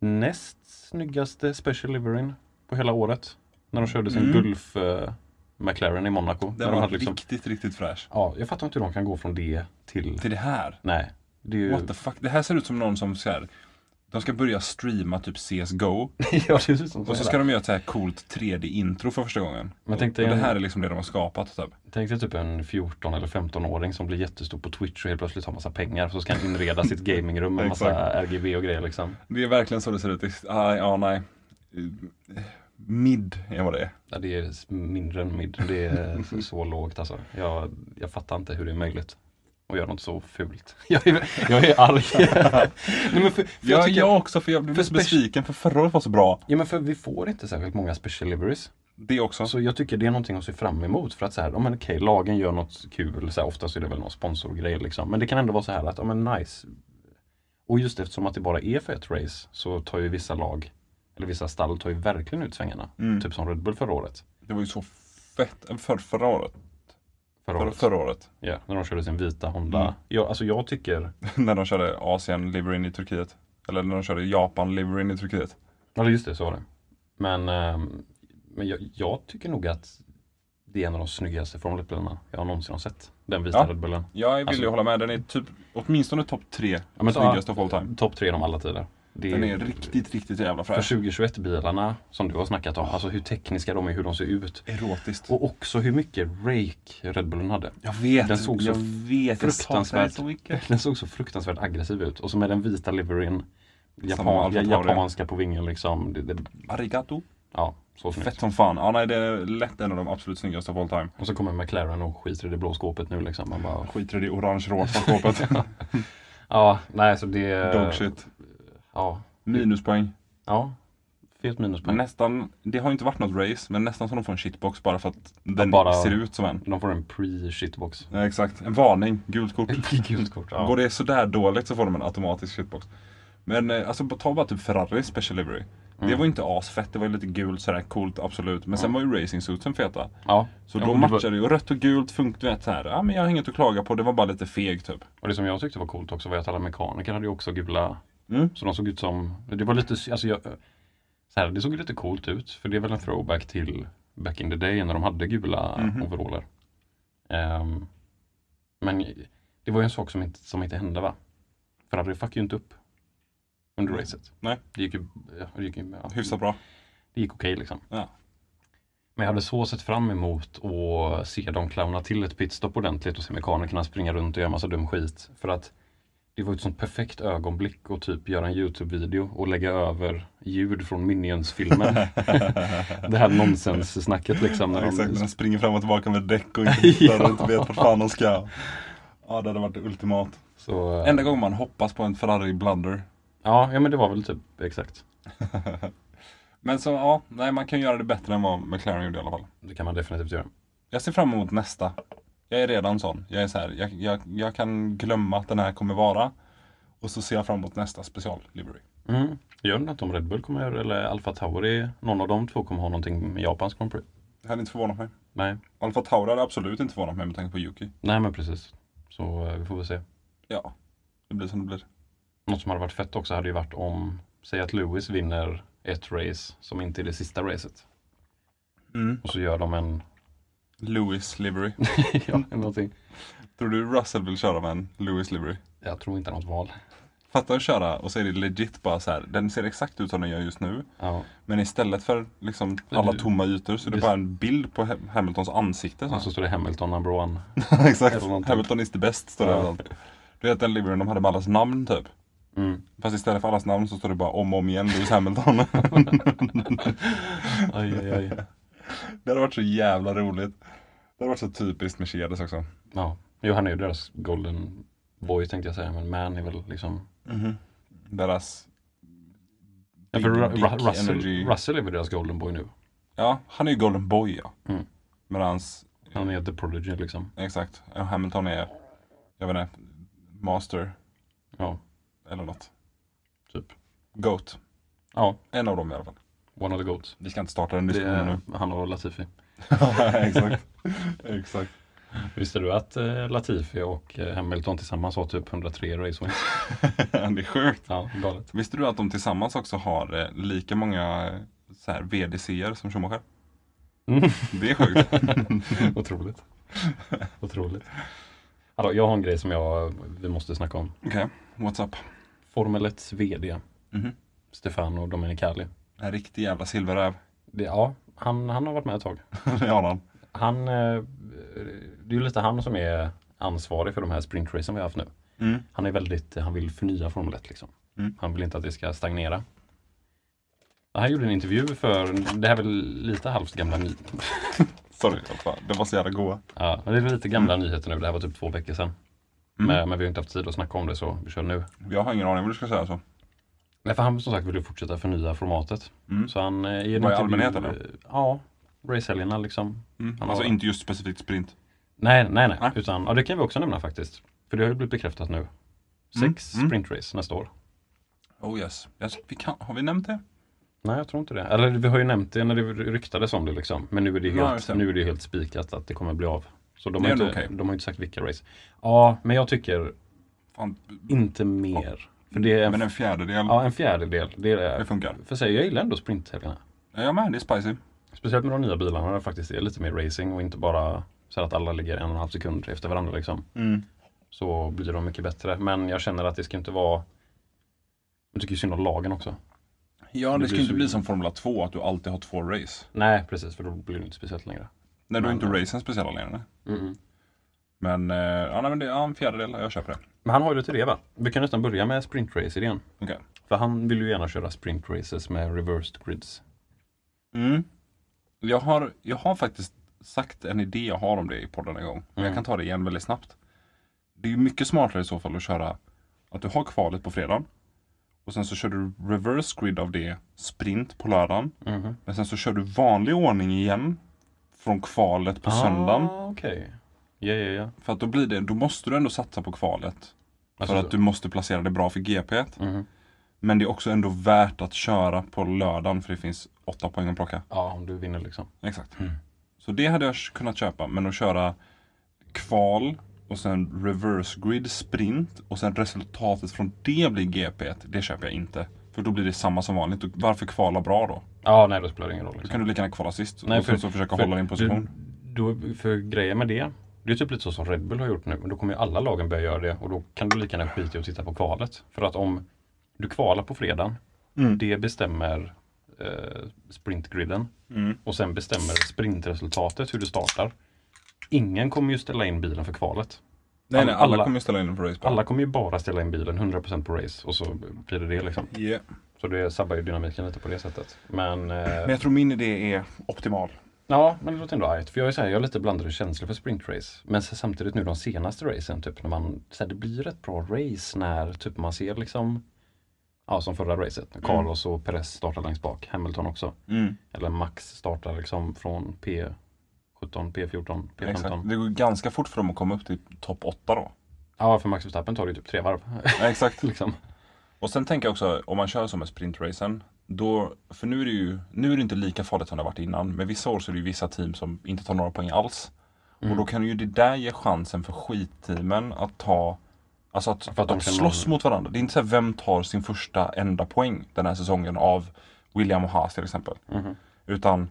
[SPEAKER 2] näst snyggaste Special Liveryn på hela året. När de körde sin
[SPEAKER 1] Mm.
[SPEAKER 2] Gulf eh, McLaren i Monaco. När
[SPEAKER 1] Den
[SPEAKER 2] de
[SPEAKER 1] var
[SPEAKER 2] hade liksom,
[SPEAKER 1] riktigt, riktigt fräsch.
[SPEAKER 2] ja, jag fattar inte hur de kan gå från det till...
[SPEAKER 1] Till det här.
[SPEAKER 2] Nej. Det är ju...
[SPEAKER 1] What the fuck. Det här ser ut som någon som så här. De ska börja streama typ CSGO.
[SPEAKER 2] ja, det är ju som
[SPEAKER 1] Och så ska de göra ett så här coolt 3D-intro för första gången.
[SPEAKER 2] Men tänk dig
[SPEAKER 1] Och det
[SPEAKER 2] en-
[SPEAKER 1] här är liksom det de har skapat. Typ.
[SPEAKER 2] Tänk dig typ en 14 eller 15-åring som blir jättestor på Twitch och helt plötsligt har massa pengar. Så ska han inreda sitt gamingrum med massa RGB och grejer liksom.
[SPEAKER 1] Det är verkligen så det ser ut. Ah, ja, nej. Mid är vad det är.
[SPEAKER 2] Ja, det är s- mindre än mid. Det är så lågt alltså. Jag, jag fattar inte hur det är möjligt att göra något så fult. Jag är, jag är arg. Nej, men för, för jag
[SPEAKER 1] Jag,
[SPEAKER 2] tycker-
[SPEAKER 1] jag också, för jag blev
[SPEAKER 2] för
[SPEAKER 1] lite besviken för förra året var så bra.
[SPEAKER 2] Ja men för vi får inte särskilt många special liveries.
[SPEAKER 1] Det också.
[SPEAKER 2] Så jag tycker det är någonting att se fram emot. För att så här, ja, men okej, lagen gör något kul. Så här, oftast är det väl någon sponsorgrej liksom. Men det kan ändå vara så här att, ja men nice. Och just eftersom att det bara är för ett race så tar ju vissa lag, eller vissa stall tar ju verkligen ut svängarna. Typ som Red Bull förra året.
[SPEAKER 1] Det var ju så fett. eh, För, förra året.
[SPEAKER 2] Förra
[SPEAKER 1] Förra,
[SPEAKER 2] året.
[SPEAKER 1] förra året.
[SPEAKER 2] Ja, när de körde sin vita Honda.
[SPEAKER 1] Mm.
[SPEAKER 2] Jag, alltså jag tycker,
[SPEAKER 1] när de körde Asien Liverin i Turkiet. Eller när de körde Japan Liverin i Turkiet.
[SPEAKER 2] eller just det, så var det. Men, ehm, men jag, jag tycker nog att det är en av de snyggaste Formel 1-bilarna jag någonsin har sett. Den vita
[SPEAKER 1] Ja.
[SPEAKER 2] Red Bullen.
[SPEAKER 1] Jag vill
[SPEAKER 2] Alltså-
[SPEAKER 1] ju hålla med. Den är typ åtminstone topp tre
[SPEAKER 2] Ja, men så- Mm.
[SPEAKER 1] snyggaste of all time.
[SPEAKER 2] Topp tre genom alla tider. Det
[SPEAKER 1] Den är riktigt, riktigt jävla
[SPEAKER 2] För
[SPEAKER 1] fräsch.
[SPEAKER 2] 2021-bilarna som du har snackat om, alltså hur tekniska de är, hur de ser ut.
[SPEAKER 1] Erotiskt.
[SPEAKER 2] Och också hur mycket rake Red Bullen hade.
[SPEAKER 1] Jag vet,
[SPEAKER 2] Den såg så
[SPEAKER 1] jag vet, jag saknar den
[SPEAKER 2] fruktansvärt.
[SPEAKER 1] så mycket.
[SPEAKER 2] Den såg så fruktansvärt aggressiv ut. Och så med den vita liveryn,
[SPEAKER 1] Samma
[SPEAKER 2] japan,
[SPEAKER 1] Alfa Tauri.
[SPEAKER 2] japanska på vingen liksom. Det, det,
[SPEAKER 1] Arigato.
[SPEAKER 2] ja, så snyggt.
[SPEAKER 1] Fett som fan. Ja, nej, det är lätt en av de absolut snyggaste of all time.
[SPEAKER 2] Och så kommer McLaren och skiter i det blå skåpet nu liksom. Man bara,
[SPEAKER 1] Skiter i det orange-rosa skåpet.
[SPEAKER 2] Eh. ja, nej så det...
[SPEAKER 1] Dog shit.
[SPEAKER 2] Ja,
[SPEAKER 1] Minuspoäng.
[SPEAKER 2] ja. Fet minuspoäng.
[SPEAKER 1] Nästan, det har ju inte varit något race, men nästan som de får en shitbox bara för att den
[SPEAKER 2] bara-
[SPEAKER 1] ser ut som en.
[SPEAKER 2] De får en pre-shitbox.
[SPEAKER 1] Ja, exakt, en varning, gult kort.
[SPEAKER 2] Gult kort.
[SPEAKER 1] Går
[SPEAKER 2] Ja.
[SPEAKER 1] det sådär dåligt så får de en automatisk shitbox. Men eh, alltså ta bara typ Ferrari Special Livery.
[SPEAKER 2] Mm.
[SPEAKER 1] Det var ju inte asfett, det var ju lite gult sådär coolt absolut. Men sen var ju racing suitsen feta.
[SPEAKER 2] ja.
[SPEAKER 1] Så
[SPEAKER 2] Mm. Ja,
[SPEAKER 1] då
[SPEAKER 2] men det var-
[SPEAKER 1] matchade det ju. Och rött och gult funkar rätt här. Ja men jag har inget att klaga på, det var bara lite feg typ.
[SPEAKER 2] Och det som jag tyckte var coolt också var att alla mekaniker hade ju också gula.
[SPEAKER 1] Mm.
[SPEAKER 2] Så de såg ut som, det var lite, alltså jag, så här, det såg ju lite coolt ut. För det är väl en throwback till back in the day när de hade gula
[SPEAKER 1] Mhm.
[SPEAKER 2] overaller. Ehm, men det var ju en sak som inte, som inte hände va? Ferrari fuckade ju inte upp under racet.
[SPEAKER 1] Nej.
[SPEAKER 2] Det gick ju, ja, det gick, ju- ja,
[SPEAKER 1] Hyfsat bra.
[SPEAKER 2] det gick okej liksom.
[SPEAKER 1] Ja.
[SPEAKER 2] Men jag hade så sett fram emot att se dem clowna till ett pitstop ordentligt och se mekanikerna springa runt och göra massa dum skit. För att det var ett sånt perfekt ögonblick att typ göra en Youtube-video och lägga över ljud från Minions-filmen. det här nonsens-snacket liksom. När
[SPEAKER 1] Exakt,
[SPEAKER 2] de,
[SPEAKER 1] den springer fram och tillbaka med däck och inte hittar och inte vet vart fan de ska. Ja, det hade varit ultimat.
[SPEAKER 2] så,
[SPEAKER 1] Enda gången man hoppas på en Ferrari blunder.
[SPEAKER 2] ja, ja, men det var väl typ exakt.
[SPEAKER 1] Men så, ja, nej man kan göra det bättre än vad McLaren gjorde i alla fall.
[SPEAKER 2] Det kan man definitivt göra.
[SPEAKER 1] Jag ser fram emot nästa. Jag är redan sån. Jag är så här, jag, jag, jag kan glömma att den här kommer vara. Och så ser jag fram emot nästa special livery.
[SPEAKER 2] Mm. Gör det något om Red Bull kommer, eller Alfa Tauri, någon av de två kommer ha någonting med Japans Grand Prix?
[SPEAKER 1] Det hade inte förvånat mig.
[SPEAKER 2] Nej,
[SPEAKER 1] Alfa Tauri hade absolut inte förvånat mig med tanke på Yuki.
[SPEAKER 2] nej men precis. Så eh, vi får väl se.
[SPEAKER 1] Ja, det blir som det blir.
[SPEAKER 2] Något som hade varit fett också hade ju varit om, säg att Lewis vinner ett race som inte är det sista racet.
[SPEAKER 1] Mm.
[SPEAKER 2] Och så gör de en,
[SPEAKER 1] Lewis livery.
[SPEAKER 2] ja, någonting.
[SPEAKER 1] Tror du Russell vill köra med en Lewis livery?
[SPEAKER 2] Jag tror inte han har något val.
[SPEAKER 1] Fatta att köra och så är det legit bara så här. Den ser exakt ut som den gör just nu.
[SPEAKER 2] Ja.
[SPEAKER 1] Men istället för liksom alla tomma ytor så är det bara en bild på Ha- Hamiltons ansikte. Så.
[SPEAKER 2] Och så står det Hamilton number one.
[SPEAKER 1] Exakt.
[SPEAKER 2] Eller någonting.
[SPEAKER 1] Hamilton is the best står det
[SPEAKER 2] Ja.
[SPEAKER 1] överallt. Du vet den liveryn de hade med allas namn typ.
[SPEAKER 2] Mm.
[SPEAKER 1] Fast istället för allas namn så står det bara om och om igen Lewis Hamilton.
[SPEAKER 2] Aj, aj, aj.
[SPEAKER 1] det hade varit så jävla roligt. Det hade varit så typiskt Mercedes också.
[SPEAKER 2] Ja, Jo, han är ju deras golden boy tänkte jag säga, men man är väl liksom...
[SPEAKER 1] Deras...
[SPEAKER 2] Ja, för
[SPEAKER 1] Big
[SPEAKER 2] Ru-
[SPEAKER 1] Dick
[SPEAKER 2] Ru-
[SPEAKER 1] Energy.
[SPEAKER 2] Russell, Russell är väl deras golden boy nu.
[SPEAKER 1] Ja, han är ju Golden Boy ja.
[SPEAKER 2] Mm.
[SPEAKER 1] Medans,
[SPEAKER 2] Han är the prodigy liksom.
[SPEAKER 1] exakt, Hamilton är, jag vet inte, Master
[SPEAKER 2] Ja,
[SPEAKER 1] eller något.
[SPEAKER 2] typ.
[SPEAKER 1] Goat.
[SPEAKER 2] Ja,
[SPEAKER 1] En av dem i alla fall.
[SPEAKER 2] one of the goats.
[SPEAKER 1] Vi ska inte starta den
[SPEAKER 2] Det
[SPEAKER 1] diskussionen nu.
[SPEAKER 2] är, han och Latifi.
[SPEAKER 1] exakt. exakt.
[SPEAKER 2] Visste du att eh, Latifi och eh, Hamilton tillsammans har typ 103 race wins?
[SPEAKER 1] det är sjukt.
[SPEAKER 2] Ja, galet.
[SPEAKER 1] Visste du att de tillsammans också har eh, lika många eh, så här, VDC'er som Schumacher?
[SPEAKER 2] Mm.
[SPEAKER 1] Det är sjukt.
[SPEAKER 2] Otroligt. Otroligt. Alltså, jag har en grej som jag, vi måste snacka om.
[SPEAKER 1] Okej, what's up?
[SPEAKER 2] Formel 1 VD,
[SPEAKER 1] Mhm.
[SPEAKER 2] Stefano Domenicali.
[SPEAKER 1] En riktig jävla silverräv.
[SPEAKER 2] Det, ja, han, han har varit med ett tag.
[SPEAKER 1] det har han.
[SPEAKER 2] Han, eh, det är ju lite han som är ansvarig för de här sprintracen vi har haft nu.
[SPEAKER 1] Mm.
[SPEAKER 2] Han är väldigt, han vill förnya Formel 1 liksom.
[SPEAKER 1] Mm.
[SPEAKER 2] Han vill inte att det ska stagnera. Han gjorde en intervju för, det här är väl lite halvt gamla nyheter.
[SPEAKER 1] Sorry, alltså, det var så jävla goa.
[SPEAKER 2] Ja, men det är väl lite gamla nyheter nu. Det här var typ två veckor sedan.
[SPEAKER 1] Mm.
[SPEAKER 2] Men, men vi har inte haft tid att snacka om det så vi kör nu.
[SPEAKER 1] Jag har ingen aning vad du ska säga så.
[SPEAKER 2] Nej, för han som sagt vill ju fortsätta förnya formatet.
[SPEAKER 1] Mm.
[SPEAKER 2] Så han eh, i en
[SPEAKER 1] Vad är
[SPEAKER 2] intervju-
[SPEAKER 1] allmänhet, eller?
[SPEAKER 2] Ja, racehelgerna liksom.
[SPEAKER 1] Mm.
[SPEAKER 2] Han
[SPEAKER 1] Alltså
[SPEAKER 2] har-
[SPEAKER 1] inte just specifikt sprint.
[SPEAKER 2] Nej, nej, nej.
[SPEAKER 1] Nej.
[SPEAKER 2] Utan, ja, det kan vi också nämna faktiskt. För det har ju blivit bekräftat nu. Sex
[SPEAKER 1] Mm. Mm.
[SPEAKER 2] sprintrace nästa år.
[SPEAKER 1] Oh yes. yes vi kan... Har vi nämnt det?
[SPEAKER 2] Nej, jag tror inte det. Eller vi har ju nämnt det när det ryktades om det liksom. Men nu är det
[SPEAKER 1] Ja,
[SPEAKER 2] helt,
[SPEAKER 1] just det.
[SPEAKER 2] nu är det helt spikat att det kommer bli av. Så de
[SPEAKER 1] Det
[SPEAKER 2] har,
[SPEAKER 1] är
[SPEAKER 2] inte,
[SPEAKER 1] ändå okej.
[SPEAKER 2] de har inte sagt vilka race. Ja, men jag tycker
[SPEAKER 1] Fan,
[SPEAKER 2] inte mer. För det är en,
[SPEAKER 1] Men en fjärdedel,
[SPEAKER 2] ja, en fjärdedel. Det är,
[SPEAKER 1] det funkar.
[SPEAKER 2] för sig, jag gillar ändå sprinthelgerna.
[SPEAKER 1] Ja, Jag med, det är spicy.
[SPEAKER 2] Speciellt med de nya bilarna där det faktiskt är lite mer racing och inte bara så här att alla ligger en och en halv sekund efter varandra liksom. Så blir de mycket bättre. Men jag känner att det ska inte vara... Jag tycker ju synd om lagen också.
[SPEAKER 1] Ja,
[SPEAKER 2] Det
[SPEAKER 1] det ska
[SPEAKER 2] blir
[SPEAKER 1] inte
[SPEAKER 2] så-
[SPEAKER 1] bli som Formula 2, att du alltid har två race.
[SPEAKER 2] Nej, precis. För då blir det inte speciellt längre.
[SPEAKER 1] När du
[SPEAKER 2] Men-
[SPEAKER 1] inte racen speciella längre.
[SPEAKER 2] Mm.
[SPEAKER 1] Men, eh, ja, nej, men det, ja, en fjärdedel, jag köper det.
[SPEAKER 2] Men han har ju lite det va? Vi kan nästan börja med sprintrace-idén.
[SPEAKER 1] Okej.
[SPEAKER 2] För han vill ju gärna köra sprintraces med reversed grids.
[SPEAKER 1] Mm. Jag, har, jag har faktiskt sagt en idé jag har om det i podden en gång. Men jag
[SPEAKER 2] Mm.
[SPEAKER 1] kan ta det igen väldigt snabbt. Det är ju mycket smartare i så fall att köra att du har kvalet på fredagen. Och sen så kör du reverse grid av det sprint på lördagen.
[SPEAKER 2] Mhm.
[SPEAKER 1] Men sen så kör du vanlig ordning igen från kvalet på söndagen.
[SPEAKER 2] Ah, Okej. Ja, ja, ja.
[SPEAKER 1] För att då blir det, då måste du ändå satsa på kvalet.
[SPEAKER 2] Alltså
[SPEAKER 1] för
[SPEAKER 2] så-
[SPEAKER 1] att du måste placera det bra för GP.
[SPEAKER 2] Mhm.
[SPEAKER 1] Men det är också ändå värt att köra på lördagen för det finns åtta poäng att plocka.
[SPEAKER 2] Ja, om du vinner liksom.
[SPEAKER 1] Exakt.
[SPEAKER 2] Mm.
[SPEAKER 1] Så det hade jag kunnat köpa. Men att köra kval och sen reverse grid sprint och sen resultatet från det blir GP. Det köper jag inte. För då blir det samma som vanligt. Och varför kvala bra då?
[SPEAKER 2] Ja, nej, då spelar det ingen roll.
[SPEAKER 1] Då
[SPEAKER 2] Liksom.
[SPEAKER 1] kan du lika gärna kvala sist
[SPEAKER 2] Nej, Mm.
[SPEAKER 1] och sen så försöka hålla din position.
[SPEAKER 2] Då, för grejen med det, det är typ lite så som Red Bull har gjort nu. Men då kommer ju alla lagen börja göra det och då kan du lika gärna skita i att titta på kvalet. För att om du kvalar på fredagen,
[SPEAKER 1] Mm.
[SPEAKER 2] det bestämmer eh, sprintgriden.
[SPEAKER 1] Mm.
[SPEAKER 2] Och sen bestämmer sprintresultatet hur du startar. Ingen kommer ju ställa in bilen för kvalet.
[SPEAKER 1] Nej, nej, alla,
[SPEAKER 2] alla-
[SPEAKER 1] kommer ju ställa in på race.
[SPEAKER 2] Alla kommer ju bara ställa in bilen 100% på race och så blir det det liksom.
[SPEAKER 1] Yeah.
[SPEAKER 2] Så det sabbar ju dynamiken lite på det sättet. Men, eh,
[SPEAKER 1] Men jag tror min idé är optimal.
[SPEAKER 2] Ja, men det låter ändå argt. För jag är, så här, jag har lite blandade känslor för sprintrace. Men så samtidigt nu de senaste racen, typ när man, så här, det blir ett bra race när typ man ser liksom, ja som förra racet, när Carlos och Perez startar längst bak, Hamilton också. Eller Max startar liksom från P17, P14, P15.
[SPEAKER 1] Exakt. Det går ganska fort för dem att komma upp till topp 8 då.
[SPEAKER 2] Ja, för Max Verstappen tar det ju typ tre varv.
[SPEAKER 1] Ja, exakt.
[SPEAKER 2] liksom.
[SPEAKER 1] Och sen tänker jag också, om man kör som en sprintracen, då, för nu är det ju nu är det inte lika farligt som det har varit innan, men vissa år så är det ju vissa team som inte tar några poäng alls.
[SPEAKER 2] Mm.
[SPEAKER 1] Och då kan ju det där ge chansen för skitteamen att ta, alltså att,
[SPEAKER 2] För att
[SPEAKER 1] att,
[SPEAKER 2] de kan-
[SPEAKER 1] slåss mot varandra. Det är inte så här, vem tar sin första enda poäng den här säsongen av William och Haas till exempel.
[SPEAKER 2] Mhm.
[SPEAKER 1] Utan,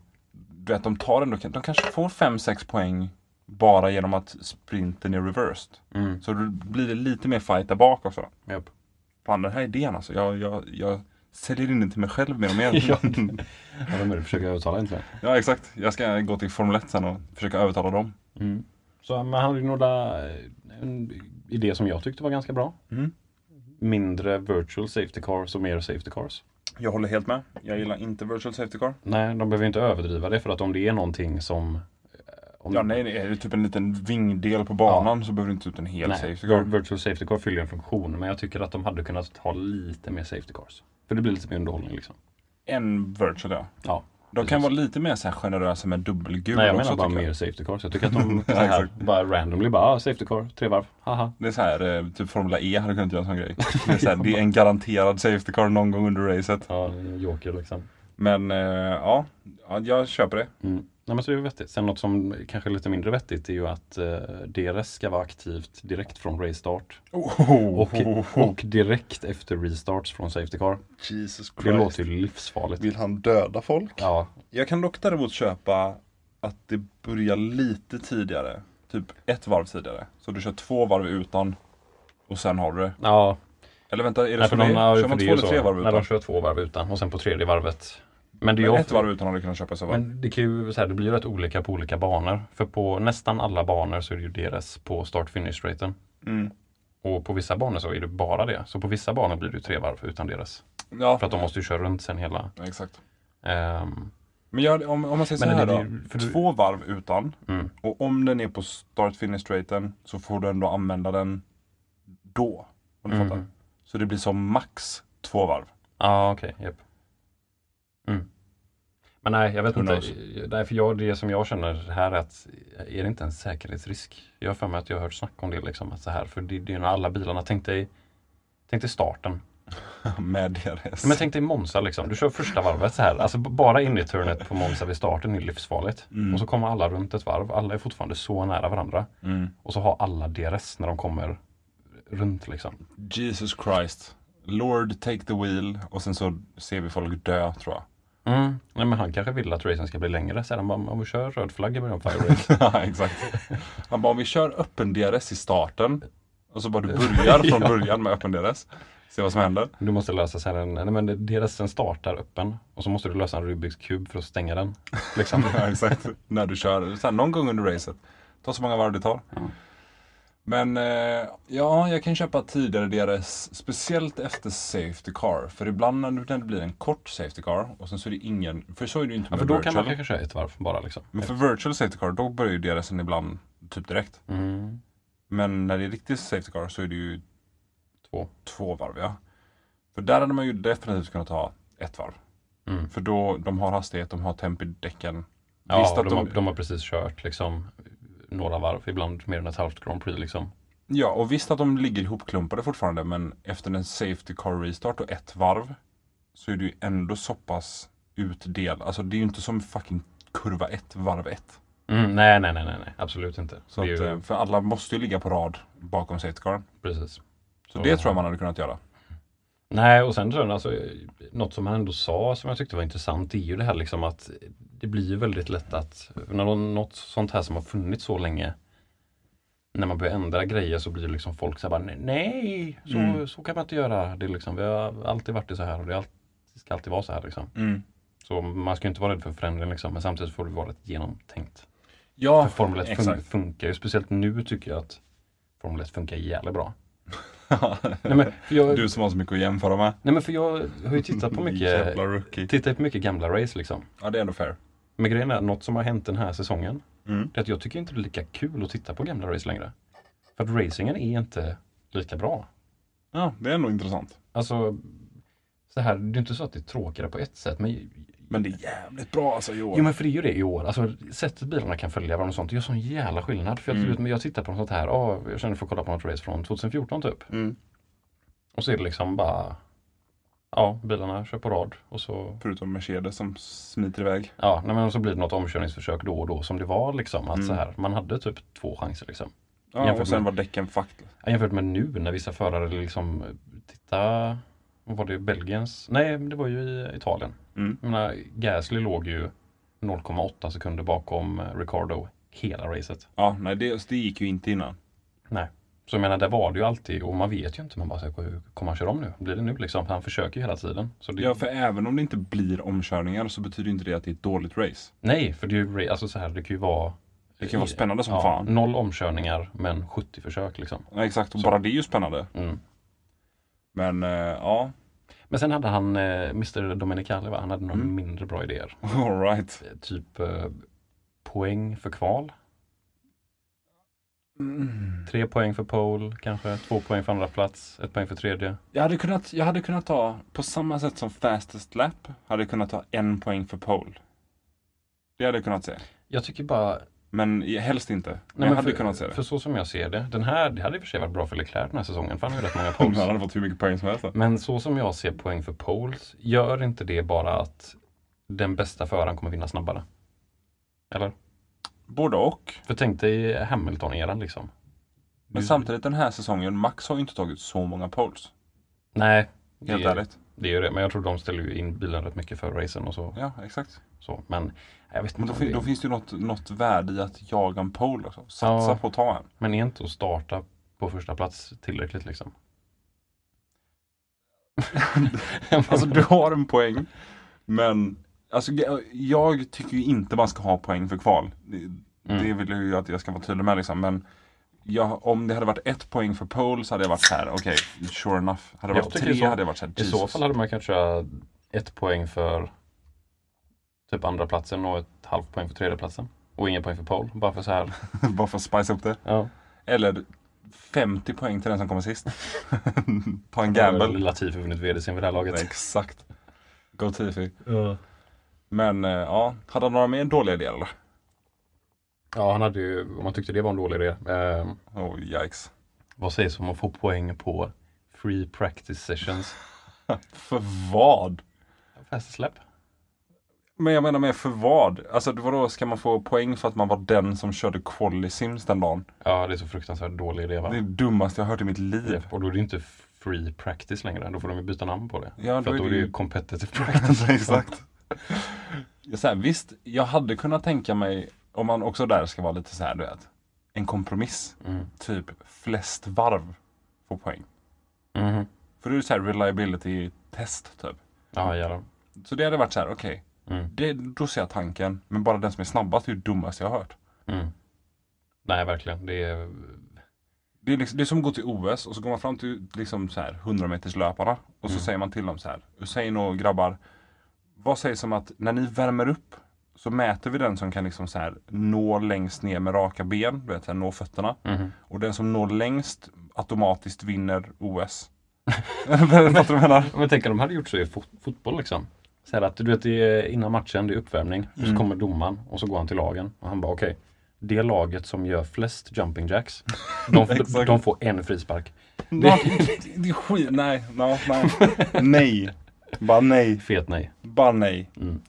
[SPEAKER 1] du vet, de tar ändå, de kanske får 5-6 poäng bara genom att sprinten är reversed.
[SPEAKER 2] Mm.
[SPEAKER 1] Så då blir det lite mer fight där bak också.
[SPEAKER 2] Japp.
[SPEAKER 1] Fan den här idén alltså, jag, jag, jag säljer in den till mig själv mer och mer.
[SPEAKER 2] Ja. Ja, vem är det du försöker övertala egentligen?
[SPEAKER 1] ja exakt, jag ska gå till Formel 1 sen och försöka övertala dem.
[SPEAKER 2] Så, men han hade ju några, eh, en idé som jag tyckte var ganska bra.
[SPEAKER 1] Mm.
[SPEAKER 2] Mindre virtual safety cars och mer safety cars.
[SPEAKER 1] Jag håller helt med, jag gillar inte virtual safety car.
[SPEAKER 2] Nej, de behöver inte överdriva det för att om det är någonting som eh, Om,
[SPEAKER 1] Ja, nej, nej, är det typ en liten vingdel på banan så behöver du inte ta ut en hel
[SPEAKER 2] nej,
[SPEAKER 1] safety
[SPEAKER 2] vir-
[SPEAKER 1] car.
[SPEAKER 2] Virtual Safety Car fyller en funktion, men jag tycker att de hade kunnat ha lite mer Safety Cars. För det blir lite mer underhållning liksom.
[SPEAKER 1] En virtual ja.
[SPEAKER 2] Ja,
[SPEAKER 1] De kan
[SPEAKER 2] precis.
[SPEAKER 1] vara lite mer så här generösa med dubbelgul
[SPEAKER 2] Nej, jag
[SPEAKER 1] också
[SPEAKER 2] menar bara
[SPEAKER 1] tycker jag.
[SPEAKER 2] mer Safety Cars. Jag tycker att de så
[SPEAKER 1] Ja,
[SPEAKER 2] här,
[SPEAKER 1] exakt.
[SPEAKER 2] bara randomly bara, ah, Safety Car, tre varv, haha.
[SPEAKER 1] Det är så här, eh, typ Formula E hade kunnat göra en sån grej. Det är, så här, det är en garanterad safety car någon gång under racet.
[SPEAKER 2] Ja, det är en joker liksom.
[SPEAKER 1] Men eh, ja, ja, jag köper det.
[SPEAKER 2] Mm. Nej, men så det är ju vettigt. Sen något som kanske är lite mindre vettigt är ju att eh, DRS ska vara aktivt direkt från race start och, och direkt efter restarts från Safety Car.
[SPEAKER 1] Jesus Christ.
[SPEAKER 2] Det låter ju livsfarligt.
[SPEAKER 1] Vill han döda folk?
[SPEAKER 2] Ja,
[SPEAKER 1] Jag kan dock däremot köpa att det börjar lite tidigare. Typ ett varv tidigare. Så du kör två varv utan och sen har du det.
[SPEAKER 2] ja.
[SPEAKER 1] Eller vänta, är det
[SPEAKER 2] Nej,
[SPEAKER 1] så
[SPEAKER 2] för
[SPEAKER 1] det
[SPEAKER 2] de,
[SPEAKER 1] är?
[SPEAKER 2] ja,
[SPEAKER 1] Kör
[SPEAKER 2] för
[SPEAKER 1] man två
[SPEAKER 2] det är ju
[SPEAKER 1] eller
[SPEAKER 2] så.
[SPEAKER 1] tre varv
[SPEAKER 2] Nej,
[SPEAKER 1] utan?
[SPEAKER 2] de kör två varv utan och sen på tredje varvet. Men det är
[SPEAKER 1] Men
[SPEAKER 2] ju
[SPEAKER 1] ett varv utan hade du kunnat köpa i så fall.
[SPEAKER 2] Men det, kan ju, så här, det blir ju rätt olika på olika banor. För på nästan alla banor så är det ju DRS på start-finish-raten.
[SPEAKER 1] Mm.
[SPEAKER 2] Och på vissa banor så är det bara det. Så på vissa banor blir det ju tre varv utan DRS.
[SPEAKER 1] Ja,
[SPEAKER 2] För att de måste ju köra runt sen hela.
[SPEAKER 1] exakt.
[SPEAKER 2] ehm,
[SPEAKER 1] Men jag, om, om man säger så
[SPEAKER 2] Men
[SPEAKER 1] här
[SPEAKER 2] det-
[SPEAKER 1] då.
[SPEAKER 2] det- för du-
[SPEAKER 1] Två varv utan.
[SPEAKER 2] Mm.
[SPEAKER 1] Och om den är på start finish straighten så får du ändå använda den då. Om du
[SPEAKER 2] Mm.
[SPEAKER 1] fattar. Så det blir som max två varv.
[SPEAKER 2] Ja, okej. japp. Mm. Men nej, jag vet
[SPEAKER 1] Who
[SPEAKER 2] inte.
[SPEAKER 1] knows?
[SPEAKER 2] Nej, för jag, det som jag känner här är att är det inte en säkerhetsrisk? Jag har för mig att jag har hört snack om det. Liksom, att så här, för det, det är när alla bilarna, tänk dig, tänk dig starten.
[SPEAKER 1] Med DRS.
[SPEAKER 2] Ja, Men tänk dig Monza liksom. Du kör första varvet så här. Alltså b- bara in i turnet på Monza vid starten är livsfarligt. Och så kommer alla runt ett varv. Alla är fortfarande så nära varandra.
[SPEAKER 1] Mm.
[SPEAKER 2] Och så har alla DRS när de kommer runt liksom.
[SPEAKER 1] Jesus Christ. Lord take the wheel och sen så ser vi folk dö tror jag.
[SPEAKER 2] Mm. Nej men han kanske vill att racen ska bli längre. Så här, han bara, om vi kör röd flagg i början på varje race.
[SPEAKER 1] Ja, exakt. Han bara, om vi kör öppen DRS i starten och så bara du börjar från början med öppen DRS. Se vad som händer.
[SPEAKER 2] Du måste lösa så här en, nej men DRSen startar öppen. Och så måste du lösa en Rubiks kub för att stänga den. Liksom.
[SPEAKER 1] Ja, exakt. När du kör, så här, någon gång under racet. Ta så många varv det tar. Men eh, ja, jag kan köpa tidigare DRS, speciellt efter Safety Car. För ibland när det blir en kort Safety Car och sen så är det ingen, för så är det ju inte
[SPEAKER 2] Ja,
[SPEAKER 1] med
[SPEAKER 2] för då kan man
[SPEAKER 1] virtual.
[SPEAKER 2] kanske köra ett varv bara liksom.
[SPEAKER 1] Men för virtual safety car, då börjar ju DRSen ibland typ direkt.
[SPEAKER 2] Mm.
[SPEAKER 1] Men när det är riktigt safety car så är det ju
[SPEAKER 2] Två.
[SPEAKER 1] två varv, ja. För där hade man ju definitivt kunnat ha ett varv.
[SPEAKER 2] Mm.
[SPEAKER 1] För då, de har hastighet, de har temp i däcken.
[SPEAKER 2] Ja,
[SPEAKER 1] Visst att
[SPEAKER 2] de,
[SPEAKER 1] de-
[SPEAKER 2] har, de har precis kört liksom några varv, ibland mer än ett halvt Grand Prix liksom.
[SPEAKER 1] Ja, och visst att de ligger ihopklumpade fortfarande, men efter en safety car restart och ett varv så är det ju ändå så pass utdel. Alltså det är ju inte som fucking kurva ett, varv ett.
[SPEAKER 2] Mm, nej, nej, nej, nej, nej, absolut inte.
[SPEAKER 1] Så
[SPEAKER 2] det är
[SPEAKER 1] att,
[SPEAKER 2] ju,
[SPEAKER 1] eh, för alla måste ju ligga på rad bakom safety car.
[SPEAKER 2] precis.
[SPEAKER 1] Så
[SPEAKER 2] Och-
[SPEAKER 1] det tror jag man hade kunnat göra.
[SPEAKER 2] Nej, och sen tror jag alltså, eh, något som han ändå sa som jag tyckte var intressant det är ju det här liksom att det blir ju väldigt lätt att när nå- något sånt här som har funnits så länge när man börjar ändra grejer så blir liksom folk så här bara nej, så,
[SPEAKER 1] Mm.
[SPEAKER 2] så kan man inte göra. Det är liksom, vi har alltid varit det så här och det är allt- det ska alltid vara så här liksom. Så man ska ju inte vara rädd för förändring liksom, men samtidigt får det vara rätt genomtänkt.
[SPEAKER 1] Ja,
[SPEAKER 2] För Formel 1 fun-
[SPEAKER 1] exakt.
[SPEAKER 2] funkar ju, speciellt nu tycker jag att Formel 1 funkar jävligt bra.
[SPEAKER 1] Ja.
[SPEAKER 2] Nej men, för jag,
[SPEAKER 1] Du som har så mycket att jämföra med.
[SPEAKER 2] nej, men för jag har ju tittat på mycket,
[SPEAKER 1] Jävla rookie.
[SPEAKER 2] tittat på mycket gamla race liksom.
[SPEAKER 1] Ja, det är ändå fair.
[SPEAKER 2] Men grejen är, något som har hänt den här säsongen,
[SPEAKER 1] Mm.
[SPEAKER 2] det är att jag tycker inte det är lika kul att titta på gamla race längre. För att racingen är inte lika bra.
[SPEAKER 1] Ja, det är ändå intressant.
[SPEAKER 2] Alltså, så här, det är inte så att det är tråkigare på ett sätt, men
[SPEAKER 1] Men det är jävligt bra alltså i år.
[SPEAKER 2] Jo men för det är ju det i år. Alltså sättet bilarna kan följa varandra och sånt. Det gör sån jävla skillnad. För jag, mm. men jag tittar på något sånt här. ah jag känner för att kolla på något race från 2014 typ.
[SPEAKER 1] Mm.
[SPEAKER 2] Och så är det liksom bara. Ja, bilarna kör på rad. Och så,
[SPEAKER 1] Förutom Mercedes som smiter iväg.
[SPEAKER 2] ja, nej, men så blir det något omkörningsförsök då och då som det var liksom. Att
[SPEAKER 1] Mm.
[SPEAKER 2] så här, man hade typ två chanser liksom.
[SPEAKER 1] Ja,
[SPEAKER 2] Jämfört
[SPEAKER 1] och sen
[SPEAKER 2] med-
[SPEAKER 1] var däcken fakt.
[SPEAKER 2] Ja, Jämfört med nu när vissa förare liksom, eh, titta, vad var det Belgiens? Nej, det var ju i Italien.
[SPEAKER 1] Mm.
[SPEAKER 2] Jag menar, Gasly låg ju 0,8 sekunder bakom eh, Ricardo hela racet.
[SPEAKER 1] Ja, nej det, det gick ju inte innan.
[SPEAKER 2] Nej. Så jag menar, där var det ju alltid och man vet ju inte. Man bara, så här, hur kommer han köra om nu? Blir det nu liksom? Han försöker ju hela tiden. Så det,
[SPEAKER 1] Ja, för även om det inte blir omkörningar så betyder inte det att det är ett dåligt race.
[SPEAKER 2] Nej, för det är ju ra- alltså så här, det kan ju vara...
[SPEAKER 1] Det kan vara spännande som
[SPEAKER 2] ja,
[SPEAKER 1] fan.
[SPEAKER 2] Noll omkörningar, men 70 försök liksom.
[SPEAKER 1] Ja, exakt, och bara det är ju spännande.
[SPEAKER 2] Mm.
[SPEAKER 1] Men eh, ja,
[SPEAKER 2] Men sen hade han, eh, Mr Dominicali, va?
[SPEAKER 1] Mm.
[SPEAKER 2] han hade några mindre bra idéer.
[SPEAKER 1] alright.
[SPEAKER 2] Eh, Typ eh, poäng för kval.
[SPEAKER 1] Mm.
[SPEAKER 2] Tre poäng för pole, kanske två poäng för andra plats, ett poäng för tredje.
[SPEAKER 1] Jag hade, kunnat, jag hade kunnat ta, på samma sätt som fastest lap, hade jag kunnat ta en poäng för pole. Det hade jag kunnat se.
[SPEAKER 2] Jag tycker bara,
[SPEAKER 1] Men i- helst inte. Men
[SPEAKER 2] Nej,
[SPEAKER 1] jag
[SPEAKER 2] men
[SPEAKER 1] hade
[SPEAKER 2] för,
[SPEAKER 1] kunnat se det.
[SPEAKER 2] För så som jag ser det, den här, det hade i och för sig varit bra för Leclerc den här säsongen, för han har ju rätt många
[SPEAKER 1] Om
[SPEAKER 2] poles.
[SPEAKER 1] han hade fått hur mycket poäng som helst.
[SPEAKER 2] Men så som jag ser poäng för poles, gör inte det bara att den bästa föraren kommer vinna snabbare? Eller?
[SPEAKER 1] Både och.
[SPEAKER 2] För tänk dig Hamilton-eran liksom.
[SPEAKER 1] Men
[SPEAKER 2] Du-
[SPEAKER 1] samtidigt den här säsongen, Max har ju inte tagit så många poles.
[SPEAKER 2] Nej, det,
[SPEAKER 1] Helt
[SPEAKER 2] är-
[SPEAKER 1] ärligt.
[SPEAKER 2] det är ju det. Men jag tror de ställer ju in bilen rätt mycket för racen och så.
[SPEAKER 1] Ja, exakt.
[SPEAKER 2] så. Men jag vet
[SPEAKER 1] Men då,
[SPEAKER 2] inte. om
[SPEAKER 1] fin-
[SPEAKER 2] det-
[SPEAKER 1] då finns det ju något, något värde i att jaga en pole också. Satsa
[SPEAKER 2] Ja.
[SPEAKER 1] på att ta en.
[SPEAKER 2] Men är inte att starta på första plats tillräckligt liksom?
[SPEAKER 1] Alltså du har en poäng. Men alltså, jag- jag tycker ju inte man ska ha poäng för kval. Det,
[SPEAKER 2] Mm.
[SPEAKER 1] det vill jag ju att jag ska vara tydlig med liksom. Men jag, om det hade varit ett poäng för pole så hade jag varit så här, okej, sure enough. Hade det
[SPEAKER 2] Jag
[SPEAKER 1] varit
[SPEAKER 2] tycker
[SPEAKER 1] tre
[SPEAKER 2] så.
[SPEAKER 1] hade jag varit så här,
[SPEAKER 2] I
[SPEAKER 1] Jesus.
[SPEAKER 2] så fall hade man kanske köra ett poäng för typ andra platsen och ett halvt poäng för tredje platsen. Och ingen poäng för pole. Bara för så här.
[SPEAKER 1] Bara för att spice upp det.
[SPEAKER 2] Ja.
[SPEAKER 1] Eller 50 poäng till den som kommer sist. Ta en gamble.
[SPEAKER 2] Latifi vunnit vd-sin vid det här laget.
[SPEAKER 1] Exakt. Go Tifi.
[SPEAKER 2] Ja.
[SPEAKER 1] Men eh, ja, hade han några mer dåliga idéer eller?
[SPEAKER 2] ja, han hade ju, om man tyckte det var en dålig idé. Eh,
[SPEAKER 1] Oh yikes.
[SPEAKER 2] vad sägs om att få poäng på free practice sessions?
[SPEAKER 1] För vad?
[SPEAKER 2] Fast släpp.
[SPEAKER 1] Men jag menar med för vad? Alltså vadå, ska man få poäng för att man var den som körde quali sims den dagen?
[SPEAKER 2] Ja, det är så fruktansvärt dålig idé va?
[SPEAKER 1] Det är det dummaste jag hört i mitt liv.
[SPEAKER 2] Och då är det ju inte free practice längre. Då får de ju byta namn på det.
[SPEAKER 1] Ja,
[SPEAKER 2] För
[SPEAKER 1] då är
[SPEAKER 2] att då
[SPEAKER 1] det
[SPEAKER 2] är det
[SPEAKER 1] ju-
[SPEAKER 2] ju competitive practice.
[SPEAKER 1] Alltså, Exakt. Jag så här, visst, jag hade kunnat tänka mig, om man också där ska vara lite så här, du vet, en kompromiss.
[SPEAKER 2] Mm.
[SPEAKER 1] Typ flest varv får poäng.
[SPEAKER 2] Mhm.
[SPEAKER 1] För det är så här reliability test typ.
[SPEAKER 2] Ja, jävlar.
[SPEAKER 1] Så det hade varit så här, okej,
[SPEAKER 2] Mm.
[SPEAKER 1] det- då ser jag tanken, men bara den som är snabbast är ju dummaste jag har hört.
[SPEAKER 2] Mm. Nej, verkligen. Det är...
[SPEAKER 1] Det är, liksom, det är som att gå till OS och så går man fram till liksom så här 100 meters löparna och så säger man till dem så här. Hussein och grabbar, vad sägs om att när ni värmer upp så mäter vi den som kan liksom så här nå längst ner med raka ben, du vet, så här, nå fötterna.
[SPEAKER 2] Mhm.
[SPEAKER 1] Och den som når längst automatiskt vinner OS. Fattar du vad jag menar?
[SPEAKER 2] Om jag tänker, de hade gjort så i fot fotboll liksom. Så här att du vet, det är innan matchen, det är uppvärmning. Och
[SPEAKER 1] Mm.
[SPEAKER 2] så kommer domaren och så går han till lagen och han bara okej. det laget som gör flest jumping jacks, de,
[SPEAKER 1] Exakt.
[SPEAKER 2] de får en frispark.
[SPEAKER 1] Det, det är skit, nej, no, nej. nej. Bara nej,
[SPEAKER 2] Fet nej.
[SPEAKER 1] bara nej.
[SPEAKER 2] Mm.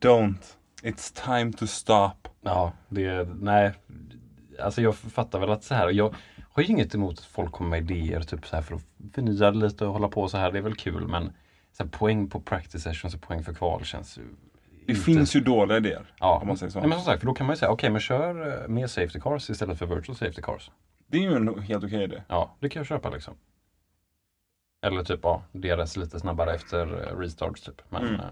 [SPEAKER 1] Don't. It's time to stop.
[SPEAKER 2] Ja, det, nej. Alltså jag fattar väl att så här, jag har ju inget emot att folk kommer med idéer typ så här för att förnya det lite och hålla på så här, det är väl kul men så här, poäng på practice sessions och poäng för kval känns ju
[SPEAKER 1] Det finns ju dåliga idéer.
[SPEAKER 2] ja.
[SPEAKER 1] om man säger så.
[SPEAKER 2] Nej, men som sagt, för då kan man ju säga, okej men kör eh, mer safety cars istället för virtual safety cars.
[SPEAKER 1] Det är ju en helt okej idé.
[SPEAKER 2] Ja, det kan jag köpa liksom. Eller typ, ja, deras lite snabbare efter eh, restarts typ. Men,
[SPEAKER 1] Mm.
[SPEAKER 2] eh,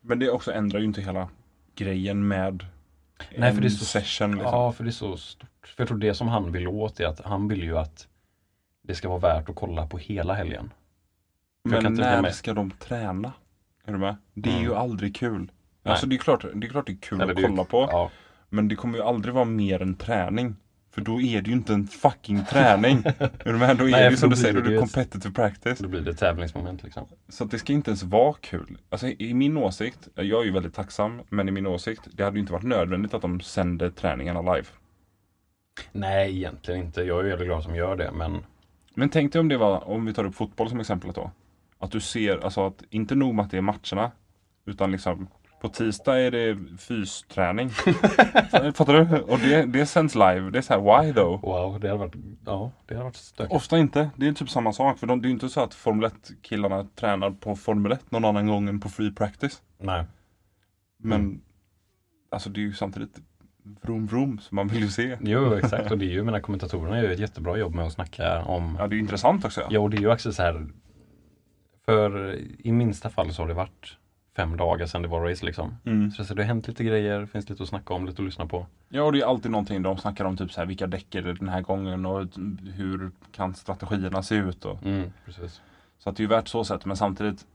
[SPEAKER 1] Men det också ändrar ju inte hela grejen med
[SPEAKER 2] Nej,
[SPEAKER 1] en
[SPEAKER 2] för det är så-
[SPEAKER 1] session. Liksom.
[SPEAKER 2] Ja, för det är så stort. För jag tror det som han vill åt är att han vill ju att det ska vara värt att kolla på hela helgen. jag kan
[SPEAKER 1] Men
[SPEAKER 2] inte hänga
[SPEAKER 1] när
[SPEAKER 2] med.
[SPEAKER 1] ska de träna? Är du med? Det är
[SPEAKER 2] Mm.
[SPEAKER 1] ju aldrig kul.
[SPEAKER 2] Nej.
[SPEAKER 1] Alltså det är, klart, det är klart det är kul
[SPEAKER 2] Eller
[SPEAKER 1] att
[SPEAKER 2] det är ju-
[SPEAKER 1] kolla på.
[SPEAKER 2] Ja,
[SPEAKER 1] Men det kommer ju aldrig vara mer än träning. För då är det ju inte en fucking träning. är du med? Då är
[SPEAKER 2] Nej,
[SPEAKER 1] det ju
[SPEAKER 2] för
[SPEAKER 1] som
[SPEAKER 2] då
[SPEAKER 1] du säger,
[SPEAKER 2] blir
[SPEAKER 1] då är
[SPEAKER 2] det
[SPEAKER 1] det
[SPEAKER 2] ju-
[SPEAKER 1] competitive practice.
[SPEAKER 2] då blir det tävlingsmoment liksom.
[SPEAKER 1] Så att det ska inte ens vara kul. Alltså i min åsikt, jag är ju väldigt tacksam, men i min åsikt, det hade ju inte varit nödvändigt att de sände träningarna live.
[SPEAKER 2] Nej, egentligen inte. Jag är ju väldigt glad som gör det, men
[SPEAKER 1] Men tänk dig om det var, om vi tar upp fotboll som exempel då. Att du ser, alltså att inte nog med att det är matcherna. Utan liksom på tisdag är det fysträning. Fattar du? Och det, det sänds live. Det är så här, why though?
[SPEAKER 2] wow, det hade varit, ja, det hade varit stökigt.
[SPEAKER 1] Ofta inte. Det är typ samma sak. För de, det är ju inte så att Formel 1-killarna tränar på Formel 1 någon annan gång än på free practice.
[SPEAKER 2] Nej.
[SPEAKER 1] Men alltså det är ju samtidigt vroom vroom som man vill ju se.
[SPEAKER 2] Jo, exakt. Och det är ju, mina kommentatorerna gör ju ett jättebra jobb med att snacka om
[SPEAKER 1] Ja, det är ju intressant också. Ja.
[SPEAKER 2] Ja, och det är ju också så här. För i minsta fall så har det varit fem dagar sedan det var race liksom.
[SPEAKER 1] Mm.
[SPEAKER 2] Så det har hänt lite grejer, finns lite att snacka om, lite att lyssna på.
[SPEAKER 1] ja, och det är alltid någonting de snackar om. Typ så här, vilka däck är det den här gången och hur kan strategierna se ut? Och,
[SPEAKER 2] Mm. precis.
[SPEAKER 1] Så att det är ju värt så sätt, men samtidigt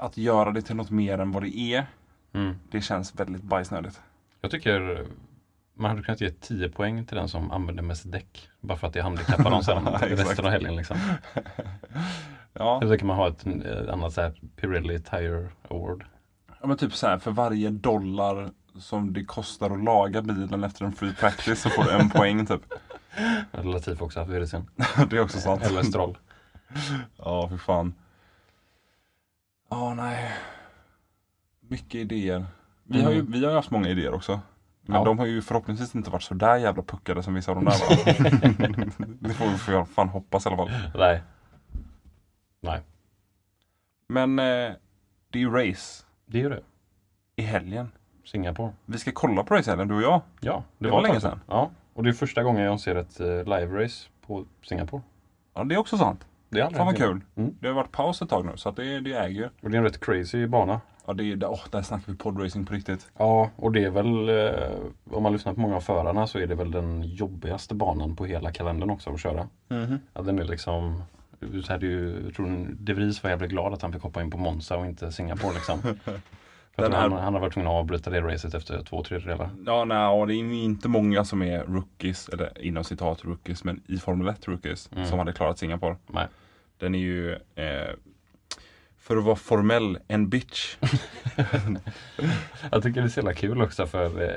[SPEAKER 1] att göra det till något mer än vad det är,
[SPEAKER 2] Mm.
[SPEAKER 1] det känns väldigt bajsnödigt.
[SPEAKER 2] Jag tycker Man hade kunnat ge 10 poäng till den som använder mest däck. Bara för att det handikappar dem sen
[SPEAKER 1] Exakt.
[SPEAKER 2] resten av helgen. Liksom.
[SPEAKER 1] Ja,
[SPEAKER 2] Eller så kan man ha ett eh, annat så här Pirelli Tire Award.
[SPEAKER 1] ja, men typ så här för varje dollar som det kostar att laga bilen efter en free practice så får du en poäng typ.
[SPEAKER 2] Eller Latif också haft det sen.
[SPEAKER 1] Det är också sant.
[SPEAKER 2] Eller Stroll.
[SPEAKER 1] Ja, för fan. Ja, nej. Mycket idéer. Vi, har ju, vi har ju haft många idéer också. Men
[SPEAKER 2] Mm. Ja.
[SPEAKER 1] de har ju förhoppningsvis inte varit så där jävla puckade som vissa av de där va? Det får vi för fan hoppas i alla fall.
[SPEAKER 2] Nej. Nej,
[SPEAKER 1] Men eh, det är ju race
[SPEAKER 2] det är ju det.
[SPEAKER 1] i helgen.
[SPEAKER 2] Singapore.
[SPEAKER 1] Vi ska kolla på race i helgen, du och jag.
[SPEAKER 2] Ja, det,
[SPEAKER 1] var
[SPEAKER 2] ett tag
[SPEAKER 1] länge sedan.
[SPEAKER 2] Ja, och det är första gången jag ser ett eh, live-race på Singapore.
[SPEAKER 1] Ja, det är också sant.
[SPEAKER 2] Det är aldrig
[SPEAKER 1] Fan vad
[SPEAKER 2] hänt innan.
[SPEAKER 1] kul.
[SPEAKER 2] Mm.
[SPEAKER 1] Det har varit paus ett tag nu, så att det, det äger ju.
[SPEAKER 2] Och det är en rätt crazy bana.
[SPEAKER 1] Ja, det är, åh, där snackar vi podracing på riktigt.
[SPEAKER 2] Ja, och det är väl, eh, om man lyssnar på många av förarna så är det väl den jobbigaste banan på hela kalendern också att köra.
[SPEAKER 1] Mhm.
[SPEAKER 2] Ja, den är liksom, så hade ju, jag tror De Vries var jävligt glad att han fick hoppa in på Monza och inte Singapore liksom. För
[SPEAKER 1] Den
[SPEAKER 2] att han,
[SPEAKER 1] här-
[SPEAKER 2] han har varit tvungen att avbryta det racet efter två tredjedelar.
[SPEAKER 1] Ja, nej, ja, det är inte många som är rookies, eller inom citat rookies, men i Formel 1 rookies,
[SPEAKER 2] Mm.
[SPEAKER 1] som hade klarat Singapore.
[SPEAKER 2] Nej.
[SPEAKER 1] Den är ju, eh, för att vara formell, en bitch.
[SPEAKER 2] Jag tycker det är så jävla kul också för eh,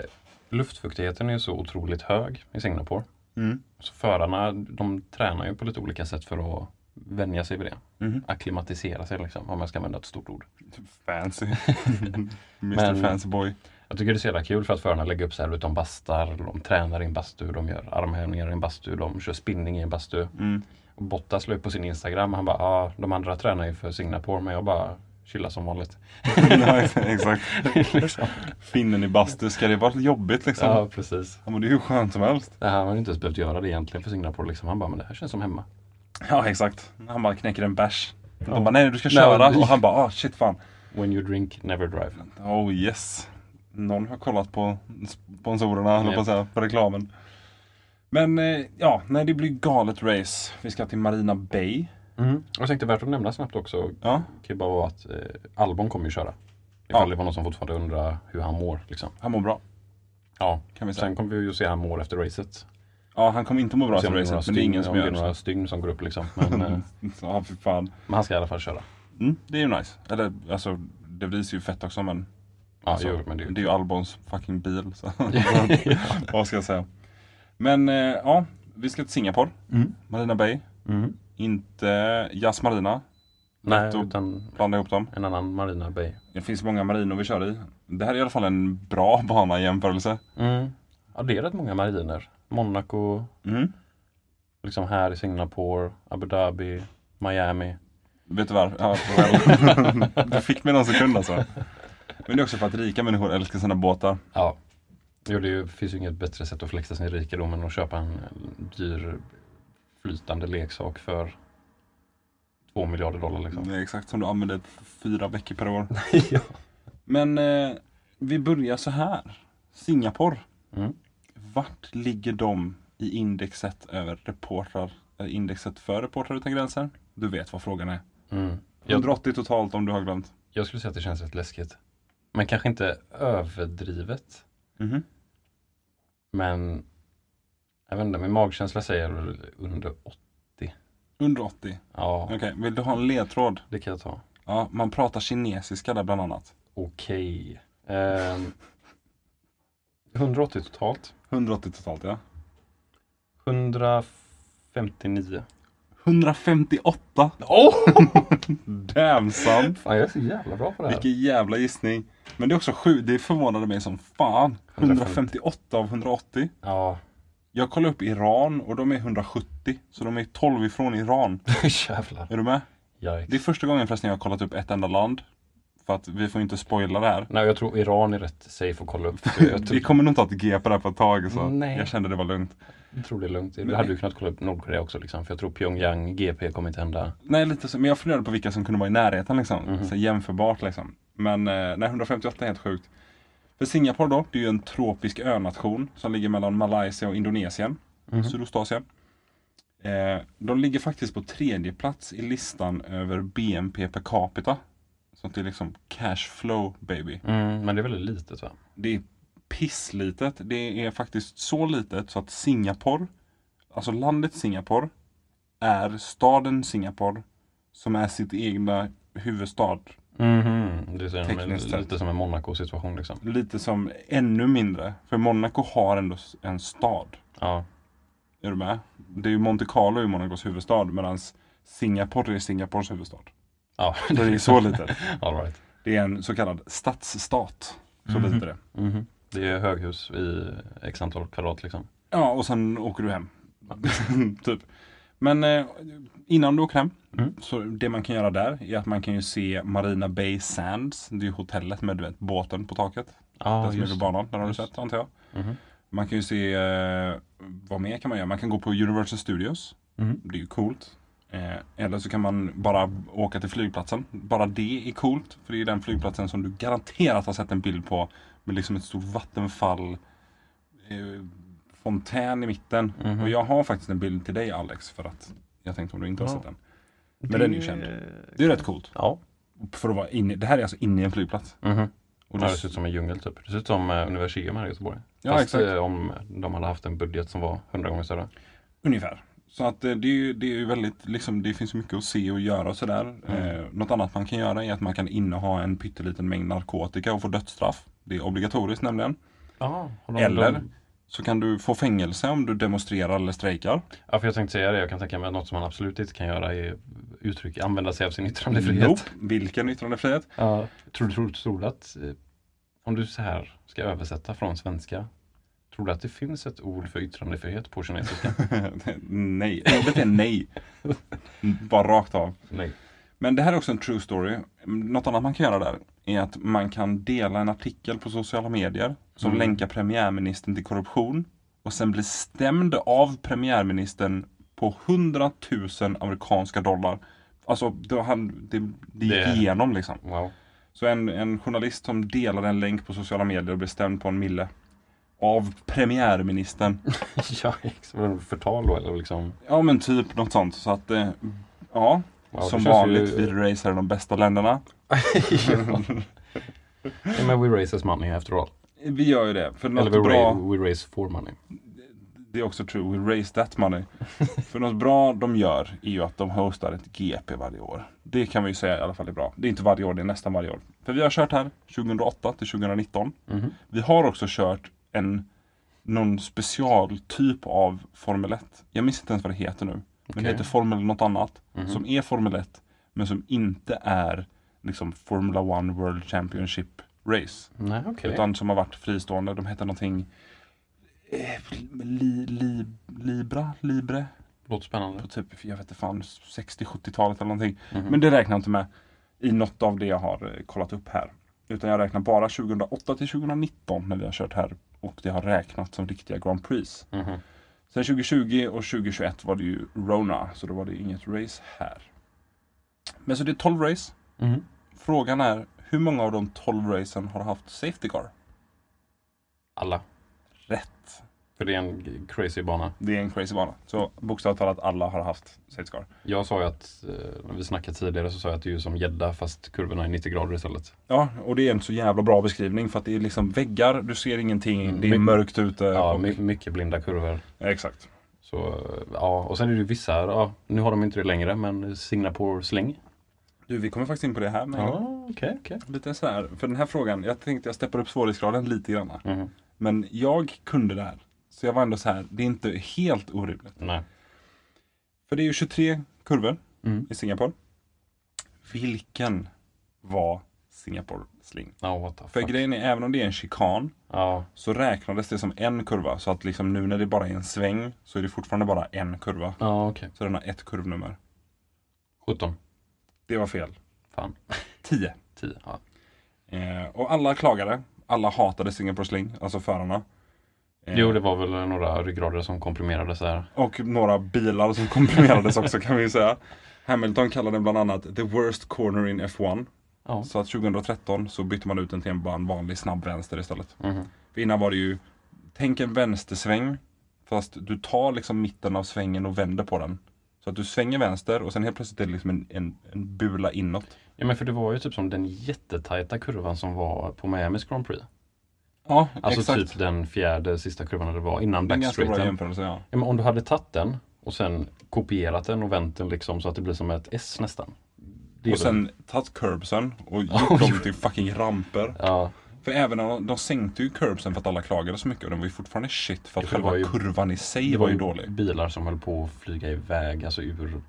[SPEAKER 2] luftfuktigheten är ju så otroligt hög i Singapore.
[SPEAKER 1] Mm.
[SPEAKER 2] Så förarna de tränar ju på lite olika sätt för att vänja sig vid det.
[SPEAKER 1] Mhm.
[SPEAKER 2] Acklimatisera sig liksom, om jag ska använda ett stort ord.
[SPEAKER 1] Fancy. Mr
[SPEAKER 2] Men-
[SPEAKER 1] Fancy Boy.
[SPEAKER 2] Jag tycker det är så jävla kul för att förarna lägger upp så här, de bastar, de tränar i en bastu, de gör armhävningar i en bastu, de kör spinning i en bastu.
[SPEAKER 1] Mm.
[SPEAKER 2] Och Bottas la upp på sin Instagram, han bara, ah, de andra tränar ju för Singapore men jag bara chillar som vanligt.
[SPEAKER 1] Nej, exakt.
[SPEAKER 2] liksom.
[SPEAKER 1] Finnen i bastu, ska det vara jobbigt liksom?
[SPEAKER 2] Ja, precis.
[SPEAKER 1] Ja, men det är ju skönt som helst.
[SPEAKER 2] Det här har man ju inte ens behövt göra det egentligen för Singapore. Liksom. Han bara, men det här känns som hemma.
[SPEAKER 1] Ja, exakt. Han bara knäcker en bärs.
[SPEAKER 2] Ja.
[SPEAKER 1] De bara, nej du ska
[SPEAKER 2] Nej,
[SPEAKER 1] köra.
[SPEAKER 2] men-
[SPEAKER 1] Och han bara, ah shit fan.
[SPEAKER 2] When you drink, never drive.
[SPEAKER 1] Oh yes. Någon har kollat på sponsorerna, höll jag på att säga, på reklamen. Men eh, ja, nej det blir galet race. Vi ska till Marina Bay.
[SPEAKER 2] Och jag tänkte värt att nämna snabbt också,
[SPEAKER 1] Ja.
[SPEAKER 2] kan ju bara vara att eh, Albon kommer ju köra. Ifall
[SPEAKER 1] Ja.
[SPEAKER 2] det var någon som fortfarande undrar hur han mår. Liksom.
[SPEAKER 1] Han mår bra.
[SPEAKER 2] Ja.
[SPEAKER 1] Kan vi säga.
[SPEAKER 2] Sen kommer vi ju se hur han mår efter racet.
[SPEAKER 1] Ja, han kommer inte må bra
[SPEAKER 2] Se
[SPEAKER 1] efter
[SPEAKER 2] om liksom, det är
[SPEAKER 1] racet, men
[SPEAKER 2] några
[SPEAKER 1] det är ingen
[SPEAKER 2] stygn-
[SPEAKER 1] som
[SPEAKER 2] om det
[SPEAKER 1] gör
[SPEAKER 2] är några
[SPEAKER 1] det.
[SPEAKER 2] stygn som går upp liksom. Men, eh,
[SPEAKER 1] Ja, fy fan.
[SPEAKER 2] men han ska i alla fall köra.
[SPEAKER 1] Mm, det är ju nice. Eller alltså, det visar ju fett också men
[SPEAKER 2] Ja,
[SPEAKER 1] alltså,
[SPEAKER 2] jo, men det är ju...
[SPEAKER 1] ju Albons fucking bil. Så. Vad ska jag säga? Men eh, ja, vi ska till Singapore.
[SPEAKER 2] Mm.
[SPEAKER 1] Marina Bay.
[SPEAKER 2] Mm.
[SPEAKER 1] Inte Yas Marina,
[SPEAKER 2] Nej,
[SPEAKER 1] Då-
[SPEAKER 2] utan
[SPEAKER 1] blanda ihop dem.
[SPEAKER 2] en annan Marina Bay.
[SPEAKER 1] Det finns många marinor vi kör i. Det här är i alla fall en bra bana i jämförelse.
[SPEAKER 2] Mm. Ja, det är rätt många mariner. Monaco,
[SPEAKER 1] Mm.
[SPEAKER 2] liksom här i Singapore, Abu Dhabi, Miami.
[SPEAKER 1] Vet du vad? Ja, väl. du fick mig någon sekund alltså. Men det är också för att rika människor älskar sina båtar.
[SPEAKER 2] Ja. Jo, det är ju- finns ju inget bättre sätt att flexa sin rikedom än att köpa en eh, dyr flytande leksak för två miljarder dollar liksom.
[SPEAKER 1] Det är exakt som du använder fyra veckor per år.
[SPEAKER 2] ja.
[SPEAKER 1] Men eh, vi börjar så här. Singapore.
[SPEAKER 2] Mm.
[SPEAKER 1] Vart ligger de i indexet över reportrar? eh, Indexet för reportrar utan gränser? Du vet vad frågan är.
[SPEAKER 2] Mm. Jag,
[SPEAKER 1] 180 totalt om du har glömt.
[SPEAKER 2] jag skulle säga att det känns rätt läskigt. Men kanske inte överdrivet.
[SPEAKER 1] Mhm.
[SPEAKER 2] Men jag vet inte, min magkänsla säger väl under 80.
[SPEAKER 1] 180.
[SPEAKER 2] Ja,
[SPEAKER 1] Okej, vill du ha en ledtråd?
[SPEAKER 2] det kan jag ta.
[SPEAKER 1] Ja, man pratar kinesiska där bland annat.
[SPEAKER 2] Okej. Ehm, 180 totalt.
[SPEAKER 1] 180 totalt ja.
[SPEAKER 2] 159.
[SPEAKER 1] 158!
[SPEAKER 2] Åh!
[SPEAKER 1] Damn son!
[SPEAKER 2] Fan, jag är så jävla bra på det här.
[SPEAKER 1] Vilken jävla gissning. Men det är också sju, det förvånade mig som fan. 158 av 180.
[SPEAKER 2] Ja,
[SPEAKER 1] Jag kollade upp Iran och de är 170. Så de är 12 ifrån Iran.
[SPEAKER 2] jävlar.
[SPEAKER 1] Är du med? Det är
[SPEAKER 2] Yikes.
[SPEAKER 1] första gången förresten jag har kollat upp ett enda land. För att vi får inte spoila det här.
[SPEAKER 2] Nej, jag tror Iran är rätt safe att kolla upp. Jag
[SPEAKER 1] Vi
[SPEAKER 2] tror,
[SPEAKER 1] kommer nog inte ha ett G på det här på ett tag. Så
[SPEAKER 2] Nej.
[SPEAKER 1] jag kände det var lugnt.
[SPEAKER 2] tror det är lugnt. Du hade ju kunnat kolla upp Nordkorea också liksom. För jag tror Pyongyang, GP kommer inte hända.
[SPEAKER 1] Nej, lite så. Men jag funderade på vilka som kunde vara i närheten liksom. Så jämförbart liksom. Men eh, nej, 158 är helt sjukt. För Singapore då, det är ju en tropisk önation som ligger mellan Malaysia och Indonesien. Sydostasien. Eh, de ligger faktiskt på tredje plats i listan över BNP per capita. Så att det är liksom cash flow baby.
[SPEAKER 2] Mm, men det är väldigt litet va?
[SPEAKER 1] Det är pisslitet. Det är faktiskt så litet så att Singapore, alltså landet Singapore, är staden Singapore som är sitt egna huvudstad.
[SPEAKER 2] Mhm, Det är en,
[SPEAKER 1] Tekniskt
[SPEAKER 2] lite
[SPEAKER 1] sett.
[SPEAKER 2] som en Monaco-situation liksom.
[SPEAKER 1] Lite som ännu mindre, för Monaco har ändå s- en stad.
[SPEAKER 2] Ja.
[SPEAKER 1] Är du med? Det är ju Monte Carlo är ju Monacos huvudstad medan Singapore är Singapores huvudstad.
[SPEAKER 2] Ja,
[SPEAKER 1] Så det är så litet.
[SPEAKER 2] All right.
[SPEAKER 1] Det är en så kallad stadsstat. Så
[SPEAKER 2] Mhm.
[SPEAKER 1] lite det.
[SPEAKER 2] Mhm. Det är höghus i x antal kvadrat liksom.
[SPEAKER 1] Ja, och sen åker du hem. typ. Men eh, innan du åker hem,
[SPEAKER 2] Mm.
[SPEAKER 1] så det man kan göra där är att man kan ju se Marina Bay Sands. Det är ju hotellet med du vet, båten på taket.
[SPEAKER 2] Ja,
[SPEAKER 1] den som är vid banan, den har du
[SPEAKER 2] Just.
[SPEAKER 1] sett antar jag.
[SPEAKER 2] Mhm.
[SPEAKER 1] Man kan ju se, eh, vad mer kan man göra? Man kan gå på Universal Studios.
[SPEAKER 2] Mhm.
[SPEAKER 1] Det är ju coolt. Eh, eller så kan man bara åka till flygplatsen. Bara det är coolt. För det är den flygplatsen som du garanterat har sett en bild på. Med liksom ett stort vattenfall. Eh, fontän i mitten.
[SPEAKER 2] Mhm.
[SPEAKER 1] Och jag har faktiskt en bild till dig Alex. För att jag tänkte om du inte har
[SPEAKER 2] Ja.
[SPEAKER 1] sett den. Men den är ju känd. Det är rätt coolt.
[SPEAKER 2] Ja.
[SPEAKER 1] För att vara inne, det här är alltså inne i en flygplats.
[SPEAKER 2] Mhm.
[SPEAKER 1] Och
[SPEAKER 2] Ja,
[SPEAKER 1] det-
[SPEAKER 2] det ser ut som en djungel typ. Det ser ut som eh, Universium här i Göteborg.
[SPEAKER 1] Ja,
[SPEAKER 2] Fast
[SPEAKER 1] exakt.
[SPEAKER 2] eh, om de hade haft en budget som var hundra gånger större.
[SPEAKER 1] Ungefär. Så att eh, det är ju, det är ju väldigt, liksom, det finns ju mycket att se och göra och sådär. Eh, något annat man kan göra är att man kan inneha en pytteliten mängd narkotika och få dödsstraff. Det är obligatoriskt nämligen.
[SPEAKER 2] Ja,
[SPEAKER 1] Eller så kan du få fängelse om du demonstrerar eller strejkar.
[SPEAKER 2] Ja, för jag tänkte säga det. Jag kan tänka mig att något som man absolut inte kan göra är uttryck, använda sig av sin yttrandefrihet.
[SPEAKER 1] Nope. Vilken yttrandefrihet?
[SPEAKER 2] Ja. Tror, tror, tror du att, eh, om du så här ska översätta från svenska, tror du att det finns ett ord för yttrandefrihet på kinesiska?
[SPEAKER 1] nej. Ordet är nej. Bara rakt av.
[SPEAKER 2] Nej.
[SPEAKER 1] Men det här är också en true story. Något annat man kan göra där är att man kan dela en artikel på sociala medier som
[SPEAKER 2] Mm.
[SPEAKER 1] länkar premiärministern till korruption och sen blir stämd av premiärministern på 100 000 amerikanska dollar. Alltså, det, han, det, det gick
[SPEAKER 2] Det-
[SPEAKER 1] igenom liksom.
[SPEAKER 2] Wow.
[SPEAKER 1] Så en, en journalist som delade en länk på sociala medier och blev stämd på en mille av premiärministern.
[SPEAKER 2] ja, exakt. Var det förtal då eller liksom?
[SPEAKER 1] Ja men typ något sånt. Så att, eh, ja.
[SPEAKER 2] Wow, det
[SPEAKER 1] som
[SPEAKER 2] känns
[SPEAKER 1] vanligt,
[SPEAKER 2] ju-
[SPEAKER 1] vi racear i de bästa länderna.
[SPEAKER 2] Ja, men we raise as money after all.
[SPEAKER 1] Vi gör ju det. För något
[SPEAKER 2] Eller we,
[SPEAKER 1] bra,
[SPEAKER 2] ra- we raise for money.
[SPEAKER 1] det är också true, we raise that money. för något bra de gör är ju att de hostar ett GP varje år. Det kan vi ju säga i alla fall är bra. Det är inte varje år, det är nästan varje år. För vi har kört här 2008 till 2019.
[SPEAKER 2] Mhm.
[SPEAKER 1] Vi har också kört en någon specialtyp av Formel 1. Jag minns inte ens vad det heter nu. Men det
[SPEAKER 2] Okej. Mhm.
[SPEAKER 1] heter Formel något annat. Som är Formel 1 men som inte är liksom Formula 1 World Championship Race.
[SPEAKER 2] Nej, okej.
[SPEAKER 1] Utan som har varit fristående. De hette någonting eh, li, li, Libra, Libre
[SPEAKER 2] Låter spännande.
[SPEAKER 1] på typ, jag vet inte fan, 60-70-talet eller någonting. Men det räknar jag inte med i något av det jag har eh, kollat upp här. Utan jag räknar bara 2008 till 2019 när vi har kört här och det har räknat som riktiga Grand Prix.
[SPEAKER 2] Mhm.
[SPEAKER 1] Sen 2020 och 2021 var det ju Rona, så då var det ju inget race här. Men så det är 12 race.
[SPEAKER 2] Mhm.
[SPEAKER 1] Frågan är, hur många av de 12 racen har haft Safety Car?
[SPEAKER 2] Alla.
[SPEAKER 1] Rätt!
[SPEAKER 2] För det är en g- crazy bana.
[SPEAKER 1] Det är en crazy bana. Så bokstavligt talat alla har haft Safety Car.
[SPEAKER 2] Jag sa ju att, eh, när vi snackade tidigare så sa jag att det är ju som gädda fast kurvorna är 90 grader istället.
[SPEAKER 1] Ja, och det är en så jävla bra beskrivning för att det är liksom väggar, du ser ingenting,
[SPEAKER 2] Mm,
[SPEAKER 1] det är
[SPEAKER 2] mycket-
[SPEAKER 1] mörkt ute.
[SPEAKER 2] Ja,
[SPEAKER 1] och,
[SPEAKER 2] my- mycket blinda kurvor.
[SPEAKER 1] Exakt.
[SPEAKER 2] Så, eh, ja, och sen är det ju vissa, ja, nu har de inte det längre, men Singapore släng.
[SPEAKER 1] Du, vi kommer faktiskt in på det här med en
[SPEAKER 2] Ja,
[SPEAKER 1] gång.
[SPEAKER 2] okej, okej.
[SPEAKER 1] Lite så här, för den här frågan, jag tänkte jag steppar upp svårighetsgraden lite grann.
[SPEAKER 2] Mhm.
[SPEAKER 1] Men jag kunde det här. Så jag var ändå så här, det är inte helt orimligt.
[SPEAKER 2] Nej.
[SPEAKER 1] För det är ju 23 kurvor
[SPEAKER 2] Mm.
[SPEAKER 1] i Singapore. Vilken var Singapore sling?
[SPEAKER 2] Ja, what the
[SPEAKER 1] För
[SPEAKER 2] fuck.
[SPEAKER 1] grejen är, även om det är en chikan
[SPEAKER 2] Ja,
[SPEAKER 1] så räknades det som en kurva. Så att liksom nu när det bara är en sväng så är det fortfarande bara en kurva.
[SPEAKER 2] ja okej.
[SPEAKER 1] Så den har ett kurvnummer.
[SPEAKER 2] 17.
[SPEAKER 1] Det var fel.
[SPEAKER 2] Fan.
[SPEAKER 1] 10.
[SPEAKER 2] 10. Ja.
[SPEAKER 1] Eh, och alla klagade. Alla hatade Singapore sling, alltså förarna. Eh,
[SPEAKER 2] Jo, det var väl några ryggrader som komprimerades där.
[SPEAKER 1] Och några bilar som komprimerades också kan vi ju säga. Hamilton kallade den bland annat the worst corner in F1.
[SPEAKER 2] Ja.
[SPEAKER 1] Så att 2013 så bytte man ut den till en, bara en vanlig snabb vänster istället.
[SPEAKER 2] Mhm.
[SPEAKER 1] För innan var det ju, tänk en vänstersväng. Fast du tar liksom mitten av svängen och vänder på den. Så att du svänger vänster och sen helt plötsligt är det liksom en, en, en bula inåt.
[SPEAKER 2] ja, men för det var ju typ som den jättetajta kurvan som var på Miamis Grand Prix.
[SPEAKER 1] Ja,
[SPEAKER 2] Alltså
[SPEAKER 1] exakt.
[SPEAKER 2] typ den fjärde sista kurvan eller vad, innan
[SPEAKER 1] det är en ganska bra
[SPEAKER 2] backstraighten.
[SPEAKER 1] jämförelse. Ja.
[SPEAKER 2] Ja, men om du hade tagit den och sen kopierat den och vänt den liksom så att det blir som ett S nästan. Det är
[SPEAKER 1] Och sen tagit curbsen och gjort dem till fucking ramper.
[SPEAKER 2] väl- ja,
[SPEAKER 1] För även när de, de sänkte ju curbsen för att alla klagade så mycket och den var ju fortfarande shit för att
[SPEAKER 2] Ja, för det
[SPEAKER 1] själva
[SPEAKER 2] var ju-
[SPEAKER 1] kurvan i sig
[SPEAKER 2] det
[SPEAKER 1] var ju dålig.
[SPEAKER 2] bilar som höll på att flyga iväg, alltså ur,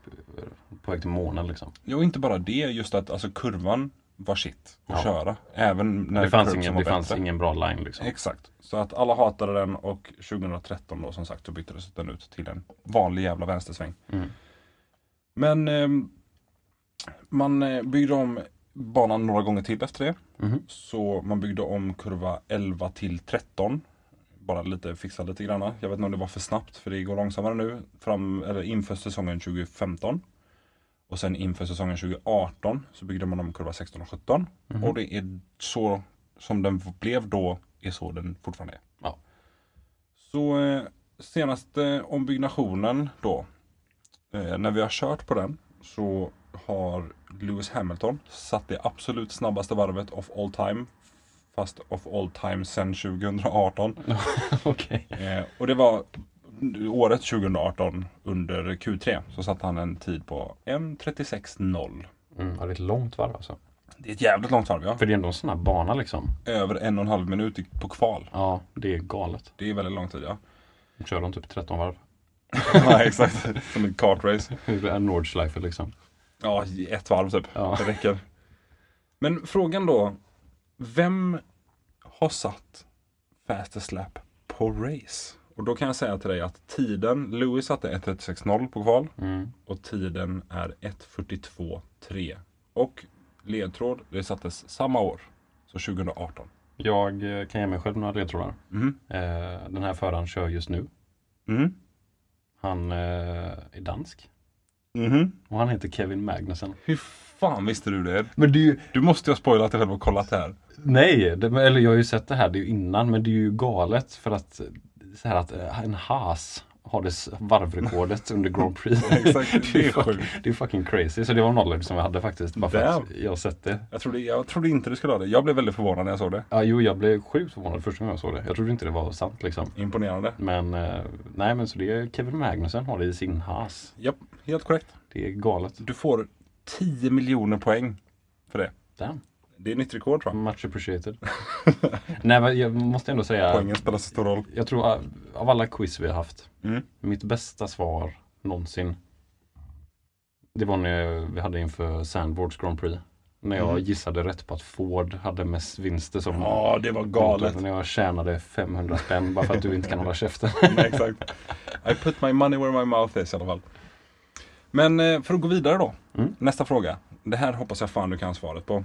[SPEAKER 2] på väg till månen liksom.
[SPEAKER 1] Ja, och inte bara det, just att alltså, kurvan var shit att
[SPEAKER 2] Ja.
[SPEAKER 1] köra. Även när
[SPEAKER 2] det fanns,
[SPEAKER 1] curbsen
[SPEAKER 2] ingen,
[SPEAKER 1] var
[SPEAKER 2] det fanns
[SPEAKER 1] bättre.
[SPEAKER 2] ingen bra line liksom.
[SPEAKER 1] Exakt. Så att alla hatade den och 2013 då som sagt så byttes den ut till en vanlig jävla vänstersväng.
[SPEAKER 2] Mm.
[SPEAKER 1] Men ehm, man eh, byggde om banan några gånger till efter det.
[SPEAKER 2] Mhm.
[SPEAKER 1] Så man byggde om kurva 11 till 13. Bara lite, fixa lite granna. Jag vet inte om det var för snabbt för det går långsammare nu. Fram, eller inför säsongen 2015. Och sen inför säsongen 2018 så byggde man om kurva 16 och 17.
[SPEAKER 2] Mhm.
[SPEAKER 1] Och det är så som den blev då, är så den fortfarande är.
[SPEAKER 2] Ja.
[SPEAKER 1] Så eh, senaste ombyggnationen då, eh, när vi har kört på den så har Lewis Hamilton satt det absolut snabbaste varvet of all time. Fast of all time sedan 2018.
[SPEAKER 2] Okej.
[SPEAKER 1] Eh, och det var året 2018 under Q3 så satte han en tid på 1.36.0.
[SPEAKER 2] Mm, ja, det är ett långt varv alltså.
[SPEAKER 1] Det är ett jävligt långt varv ja.
[SPEAKER 2] För det är ändå en snabb bana liksom.
[SPEAKER 1] Över en och en halv minut i- på kval.
[SPEAKER 2] Ja, det är galet.
[SPEAKER 1] Det är väldigt lång tid ja.
[SPEAKER 2] De kör de typ 13 varv.
[SPEAKER 1] ja exakt, som ett kartrace.
[SPEAKER 2] Hur är Nordschleife liksom?
[SPEAKER 1] Ja, i ett varv typ.
[SPEAKER 2] Ja.
[SPEAKER 1] Det räcker. Men frågan då. Vem har satt fastest lap på race? Och då kan jag säga till dig att tiden, Lewis satte 1.36.0 på kval
[SPEAKER 2] Mm.
[SPEAKER 1] och tiden är 1.42.3. Och ledtråd, det sattes samma år, så 2018.
[SPEAKER 2] Jag eh, kan ge mig själv några ledtrådar.
[SPEAKER 1] Mhm.
[SPEAKER 2] Eh, Den här föraren kör just nu.
[SPEAKER 1] Mhm.
[SPEAKER 2] Han eh, är dansk
[SPEAKER 1] Mhm.
[SPEAKER 2] och han heter Kevin Magnussen.
[SPEAKER 1] Hur fan visste du det?
[SPEAKER 2] Men det är ju...
[SPEAKER 1] Du måste ju ha spoilat dig själv och kollat det här.
[SPEAKER 2] Nej, det, eller jag har ju sett det här det är ju innan men det är ju galet för att så här att eh, en Haas har det s- varvrekordet under Grand Prix.
[SPEAKER 1] Exakt, det är
[SPEAKER 2] fuck-
[SPEAKER 1] sjukt.
[SPEAKER 2] det är fucking crazy. Så det var knowledge som jag hade faktiskt. Bara för att
[SPEAKER 1] Damn.
[SPEAKER 2] jag har sett det.
[SPEAKER 1] Jag trodde, jag trodde inte du skulle ha det. Jag blev väldigt förvånad när jag såg det.
[SPEAKER 2] Ja, jo, jag blev sjukt förvånad första gången jag såg det. Jag trodde inte det var sant liksom.
[SPEAKER 1] Imponerande.
[SPEAKER 2] Men eh, nej, men så det är Kevin Magnussen har det i sin has.
[SPEAKER 1] Japp, helt korrekt.
[SPEAKER 2] Det är galet.
[SPEAKER 1] Du får 10 miljoner poäng för det.
[SPEAKER 2] Damn.
[SPEAKER 1] Det är nytt rekord tror jag.
[SPEAKER 2] Much appreciated. nej, men jag måste ändå säga.
[SPEAKER 1] Poängen spelar så stor roll.
[SPEAKER 2] Jag tror av- av alla quiz vi har haft,
[SPEAKER 1] Mm.
[SPEAKER 2] mitt bästa svar någonsin. Det var när vi hade inför Sandboards Grand Prix. När jag gissade rätt på att Ford hade mest vinster som
[SPEAKER 1] Mm. Ja, det var galet.
[SPEAKER 2] När jag tjänade 500 spänn bara för att du inte kan hålla käften.
[SPEAKER 1] Nej, exakt. I put my money where my mouth is i alla fall. Men eh, för att gå vidare då.
[SPEAKER 2] Mm.
[SPEAKER 1] Nästa fråga. Det här hoppas jag fan du kan svaret på.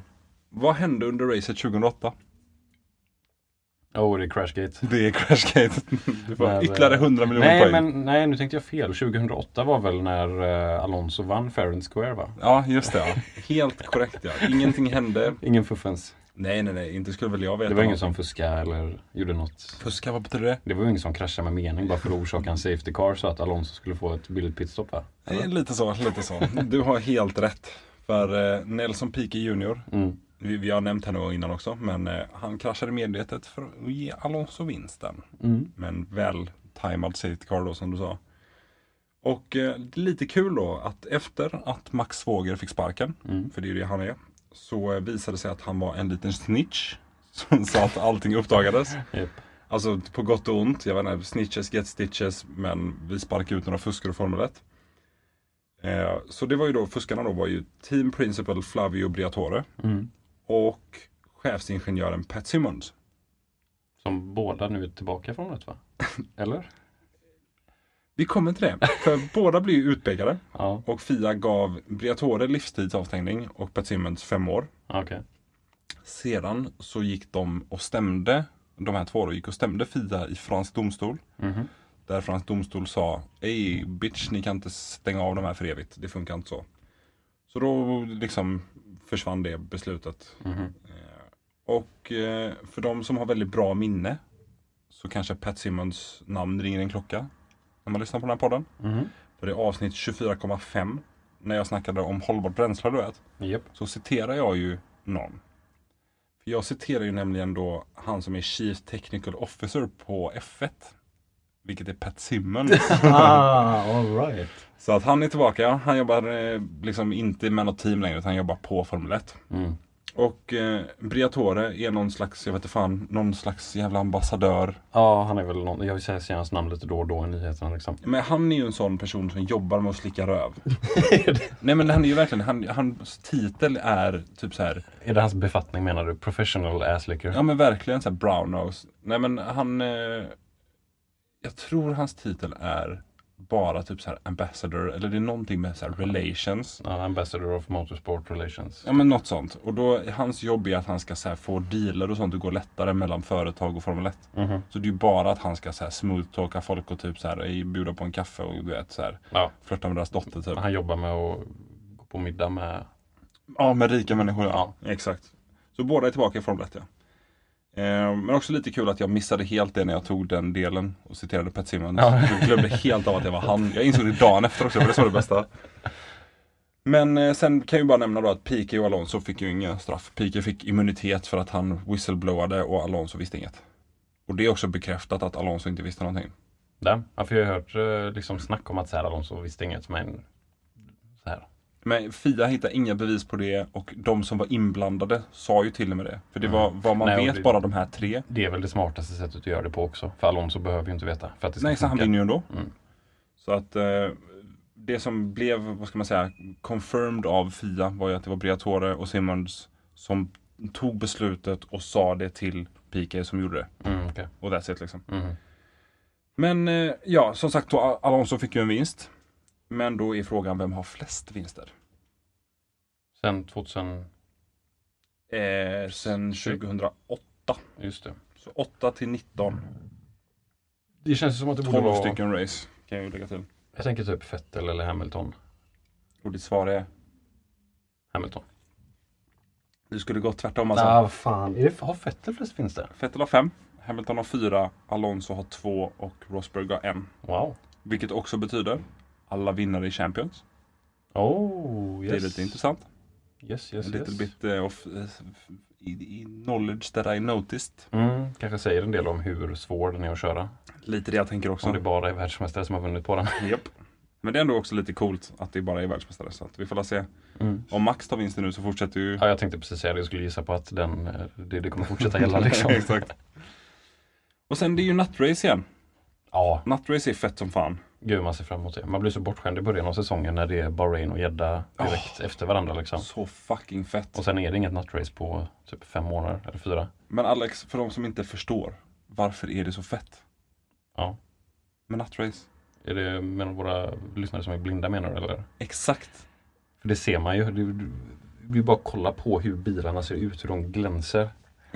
[SPEAKER 1] Vad hände under racet 2008?
[SPEAKER 2] Åh, oh, det är Crashgate.
[SPEAKER 1] Det är crashgate. Du får
[SPEAKER 2] När,
[SPEAKER 1] ytterligare
[SPEAKER 2] eh,
[SPEAKER 1] 100 miljoner
[SPEAKER 2] nej,
[SPEAKER 1] poäng.
[SPEAKER 2] Men, nej, nu tänkte jag fel. 2008 var väl när eh, Alonso vann Fair and Square va?
[SPEAKER 1] Ja, just det. Ja. Helt korrekt ja. Ingenting hände.
[SPEAKER 2] Ingen fuffens.
[SPEAKER 1] Nej, nej, nej. Inte skulle väl jag veta.
[SPEAKER 2] Det var ingen
[SPEAKER 1] något.
[SPEAKER 2] som fuskade eller gjorde något.
[SPEAKER 1] Fuska, vad betyder det?
[SPEAKER 2] Det var ju ingen som kraschade med mening bara för att orsaka en safety car så att Alonso skulle få ett billigt pitstop va?
[SPEAKER 1] Eh, Lite så, lite så. Du har helt rätt. För eh, Nelson Piquet Jr,
[SPEAKER 2] Mm.
[SPEAKER 1] vi, vi har nämnt henne innan också, men eh, han kraschade medvetet för att ge Alonso vinsten.
[SPEAKER 2] Mm.
[SPEAKER 1] Men väl timad safety car då som du sa. Och eh, det är lite kul då att efter att Max Svåger fick sparken,
[SPEAKER 2] Mm.
[SPEAKER 1] för det är ju det han är, så eh, visade det sig att han var en liten snitch. Som sa att allting uppdagades.
[SPEAKER 2] Japp.
[SPEAKER 1] Alltså på gott och ont. Jag vet inte, snitches get stitches. Men vi sparkar ut några fuskare i Formel 1. Eh, så det var ju då, fuskarna då var ju Team Principal Flavio Briatore
[SPEAKER 2] Mm.
[SPEAKER 1] och chefsingenjören Pat Simmons.
[SPEAKER 2] Som båda nu är tillbaka från det va? Eller?
[SPEAKER 1] Vi kommer till det, för båda blir ju utpekade.
[SPEAKER 2] Ja,
[SPEAKER 1] Och Fia gav Briatore livstidsavstängning och Pat Simmons fem år.
[SPEAKER 2] okej.
[SPEAKER 1] Sedan så gick de och stämde, de här två då, gick och stämde Fia i fransk domstol.
[SPEAKER 2] Mhm.
[SPEAKER 1] Där fransk domstol sa Ej bitch, ni kan inte stänga av de här för evigt. Det funkar inte så. Så då liksom försvann det beslutet.
[SPEAKER 2] Mhm.
[SPEAKER 1] Eh, Och eh, för de som har väldigt bra minne så kanske Pat Simmons namn ringer en klocka när man lyssnar på den här podden.
[SPEAKER 2] Mhm.
[SPEAKER 1] För det är avsnitt 24,5 när jag snackade om hållbart bränsle du vet
[SPEAKER 2] Japp.
[SPEAKER 1] så citerar jag ju någon. För jag citerar ju nämligen då han som är Chief Technical Officer på F1. Vilket är Pat Simmons.
[SPEAKER 2] Ah, alright.
[SPEAKER 1] så att han är tillbaka. Han jobbar eh, liksom inte med något team längre utan han jobbar på Formel 1.
[SPEAKER 2] Mm.
[SPEAKER 1] Och eh, Briatore är någon slags, jag vet inte fan, någon slags jävla ambassadör.
[SPEAKER 2] Ja, han är väl någon, jag ser ser hans namn lite då och då i nyheterna liksom.
[SPEAKER 1] Men han är ju en sån person som jobbar med att slicka röv. Nej men han är ju verkligen, han, hans titel är typ så här
[SPEAKER 2] Är det hans befattning menar du? Professional asslicker?
[SPEAKER 1] Ja men verkligen så här brown nose. Nej men han, eh, jag tror hans titel är bara typ så här ambassador eller det är någonting med så här relations.
[SPEAKER 2] Ja, ambassador of Motorsport Relations.
[SPEAKER 1] Ja men något sånt. Och då, hans jobb är att han ska så här, få dealer och sånt att gå lättare mellan företag och Formel 1.
[SPEAKER 2] Mhm.
[SPEAKER 1] Så det är ju bara att han ska så här smooth-talka folk och typ så här, bjuda på en kaffe och du vet så här,
[SPEAKER 2] Ja,
[SPEAKER 1] flörta med deras dotter typ.
[SPEAKER 2] han jobbar med att gå på middag med...
[SPEAKER 1] Ja, med rika människor. Ja. Exakt. Så båda är tillbaka i Formel 1. Ja. Eh, Men också lite kul att jag missade helt det när jag tog den delen och citerade Pat Simmons.
[SPEAKER 2] Ja.
[SPEAKER 1] Jag glömde helt av att det var han. Jag insåg det dagen efter också, för det var det bästa. Men eh, sen kan jag ju bara nämna då att Piqué och Alonso fick ju inga straff. Piqué fick immunitet för att han whistleblowade och Alonso visste inget. Och det är också bekräftat att Alonso inte visste någonting.
[SPEAKER 2] Där. Ja, för jag har hört eh, liksom snack om att så här Alonso visste inget, men... Så här.
[SPEAKER 1] Men Fia hittar inga bevis på det och de som var inblandade sa ju till och med det. För Mm. det var vad man
[SPEAKER 2] Nej, och
[SPEAKER 1] vet,
[SPEAKER 2] det-
[SPEAKER 1] bara de här tre.
[SPEAKER 2] Det är väl det smartaste sättet att göra det på också. För Alonso behöver ju inte veta. För att det ska
[SPEAKER 1] Nej, så han
[SPEAKER 2] funka.
[SPEAKER 1] vinner ju ändå.
[SPEAKER 2] Mm.
[SPEAKER 1] Så att eh, det som blev, vad ska man säga, confirmed av Fia var ju att det var Briatore och Simmons som tog beslutet och sa det till Piqué som gjorde det.
[SPEAKER 2] Mm, okej.
[SPEAKER 1] Och that's it liksom.
[SPEAKER 2] Mm.
[SPEAKER 1] Men eh, ja, som sagt, då, Al- Alonso fick ju en vinst. Men då är frågan, vem har flest vinster?
[SPEAKER 2] Sen 2000...
[SPEAKER 1] Eh, sen 2008.
[SPEAKER 2] Just det.
[SPEAKER 1] Så 8 till 19.
[SPEAKER 2] Det känns som att det
[SPEAKER 1] 12 stycken race kan jag ju lägga till.
[SPEAKER 2] Jag tänker typ Vettel eller Hamilton.
[SPEAKER 1] Och ditt svar är?
[SPEAKER 2] Hamilton.
[SPEAKER 1] Du skulle gå tvärtom alltså.
[SPEAKER 2] vad fan. Är det, har Vettel flest vinster?
[SPEAKER 1] Vettel har 5, Hamilton har 4, Alonso har 2 och Rosberg har 1.
[SPEAKER 2] Wow.
[SPEAKER 1] Vilket också betyder alla vinnare i Champions.
[SPEAKER 2] Oh, yes.
[SPEAKER 1] Det är lite intressant.
[SPEAKER 2] Yes, yes,
[SPEAKER 1] A little
[SPEAKER 2] yes.
[SPEAKER 1] bit eh, of eh, i- i knowledge that I noticed.
[SPEAKER 2] Mm, kanske säger en del om hur svår den är att köra.
[SPEAKER 1] Lite det jag tänker också.
[SPEAKER 2] Om det bara är världsmästare som har vunnit på den.
[SPEAKER 1] Japp. Men det är ändå också lite coolt att det bara är världsmästare. Så att vi får la se.
[SPEAKER 2] Mm.
[SPEAKER 1] Om Max tar vinsten nu så fortsätter ju...
[SPEAKER 2] Ja, jag tänkte precis säga det. Jag skulle gissa på att den, eh, det, det kommer fortsätta gälla liksom.
[SPEAKER 1] Exakt. Och sen det är ju nattrace igen.
[SPEAKER 2] Ja,
[SPEAKER 1] Nattrace är fett som fan.
[SPEAKER 2] gud man ser fram emot det. Man blir så bortskämd i början av säsongen när det är Bahrain och Jeddah direkt efter varandra liksom.
[SPEAKER 1] Så fucking fett.
[SPEAKER 2] Och sen är det inget nattrace på typ fem månader eller fyra.
[SPEAKER 1] Men Alex, för de som inte förstår. Varför är det så fett?
[SPEAKER 2] Ja.
[SPEAKER 1] Med nattrace.
[SPEAKER 2] Är det med våra lyssnare som är blinda menar du eller?
[SPEAKER 1] Exakt.
[SPEAKER 2] För det ser man ju. Det, det, det är bara att kolla på hur bilarna ser ut, hur de glänser.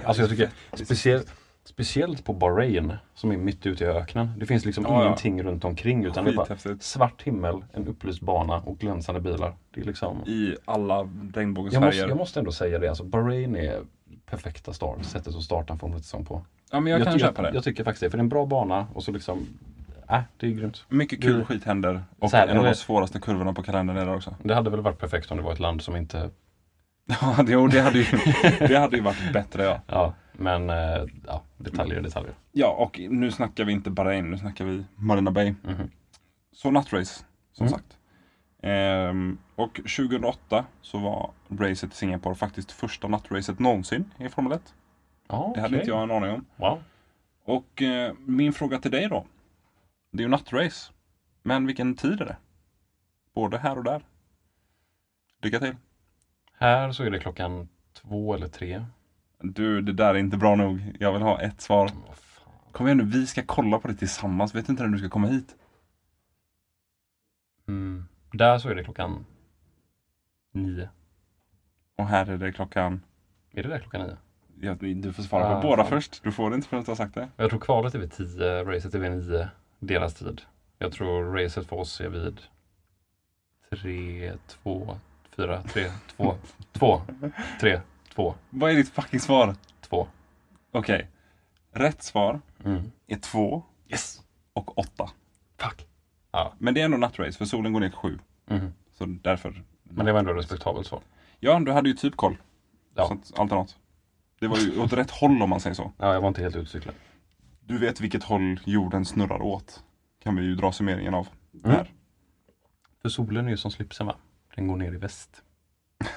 [SPEAKER 2] Alltså jag tycker speciellt, speciellt på Bahrain som är mitt ute i öknen. Det finns liksom
[SPEAKER 1] Ja, ja.
[SPEAKER 2] ingenting runt omkring utan det är bara
[SPEAKER 1] Skithäftigt.
[SPEAKER 2] svart himmel, en upplyst bana och glänsande bilar. Det är liksom...
[SPEAKER 1] I alla regnbågens
[SPEAKER 2] Jag måste,
[SPEAKER 1] färger.
[SPEAKER 2] jag måste ändå säga det, alltså Bahrain är perfekta start, sättet att starta en Formel 1-säsong på.
[SPEAKER 1] Ja men jag, kan
[SPEAKER 2] ty-
[SPEAKER 1] köpa det.
[SPEAKER 2] Jag tycker faktiskt det, för det är en bra bana och så liksom, äh, det är grymt.
[SPEAKER 1] Mycket kul
[SPEAKER 2] Mm.
[SPEAKER 1] skit händer. Och
[SPEAKER 2] Så här,
[SPEAKER 1] en av
[SPEAKER 2] eller-
[SPEAKER 1] de svåraste kurvorna på kalendern är det också.
[SPEAKER 2] Det hade väl varit perfekt om det var ett land som inte
[SPEAKER 1] Ja, det, jo, det, hade ju, det hade ju varit bättre ja.
[SPEAKER 2] Ja, men eh, ja, detaljer är detaljer.
[SPEAKER 1] Ja, och nu snackar vi inte Bahrain, nu snackar vi Marina Bay.
[SPEAKER 2] Mhm.
[SPEAKER 1] Så nattrace, som
[SPEAKER 2] Mm.
[SPEAKER 1] sagt. Ehm, och 2008 så var racet i Singapore faktiskt första nattracet någonsin i Formel 1.
[SPEAKER 2] Ja,
[SPEAKER 1] Det hade
[SPEAKER 2] okej.
[SPEAKER 1] inte jag en aning om.
[SPEAKER 2] Wow.
[SPEAKER 1] Och eh, min fråga till dig då. Det är ju nattrace. Men vilken tid är det? Både här och där. Lycka till.
[SPEAKER 2] Här så är det klockan två eller tre.
[SPEAKER 1] Du, det där är inte bra nog. Jag vill ha ett svar.
[SPEAKER 2] Vad fan.
[SPEAKER 1] Kom igen nu, vi ska kolla på det tillsammans. Vet du inte när du ska komma hit?
[SPEAKER 2] Mm. Där så är det klockan nio.
[SPEAKER 1] Och här är det klockan...
[SPEAKER 2] Är det där klockan nio?
[SPEAKER 1] Ja, du får svara på
[SPEAKER 2] Ah,
[SPEAKER 1] båda
[SPEAKER 2] fan.
[SPEAKER 1] först. Du får det inte förrän du har sagt det.
[SPEAKER 2] Jag tror kvalet är vid tio, racet är vid nio, deras tid. Jag tror racet för oss är vid tre, två, fyra, tre, två, två, tre, två,
[SPEAKER 1] Vad är ditt fucking svar?
[SPEAKER 2] två.
[SPEAKER 1] Okej. Rätt svar
[SPEAKER 2] Mm.
[SPEAKER 1] är två
[SPEAKER 2] Yes!
[SPEAKER 1] och åtta.
[SPEAKER 2] Fuck!
[SPEAKER 1] Men det är ändå nattrace, för solen går ner sju.
[SPEAKER 2] Mhm.
[SPEAKER 1] Så därför.
[SPEAKER 2] Men det var ändå respektabelt så.
[SPEAKER 1] Ja, du hade ju typ koll.
[SPEAKER 2] Ja.
[SPEAKER 1] Så att, allt annat. Det var ju åt rätt håll om man säger så.
[SPEAKER 2] Ja, jag var inte helt utcyklad.
[SPEAKER 1] Du vet vilket håll jorden snurrar åt. Kan vi ju dra summeringen av.
[SPEAKER 2] Mm.
[SPEAKER 1] Här.
[SPEAKER 2] För solen är ju som slipsen va? Den går ner i väst.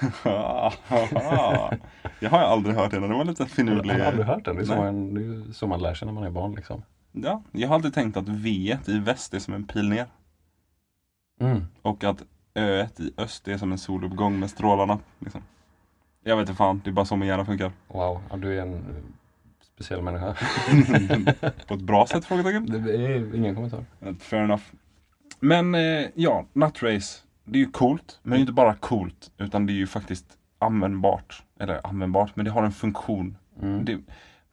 [SPEAKER 1] jag har jag aldrig hört innan. Det var lite finurlig.
[SPEAKER 2] Jag har aldrig hört den. Det är, så
[SPEAKER 1] Nej.
[SPEAKER 2] man, det är ju så man lär sig när man är barn liksom.
[SPEAKER 1] Ja, jag har alltid tänkt att V i väst är som en pil ner.
[SPEAKER 2] Mm.
[SPEAKER 1] Och att öet i öst är som en soluppgång med strålarna. Liksom. Jag vet inte fan, det är bara så min hjärna funkar.
[SPEAKER 2] Wow, ja, du är en eh, speciell människa.
[SPEAKER 1] På ett bra sätt frågetecken.
[SPEAKER 2] Det är ingen kommentar.
[SPEAKER 1] Eh, Fair enough. Men eh, ja, nattrace. Det är ju coolt, men det är inte bara coolt. Utan det är ju faktiskt användbart. Eller användbart, men det har en funktion. Det,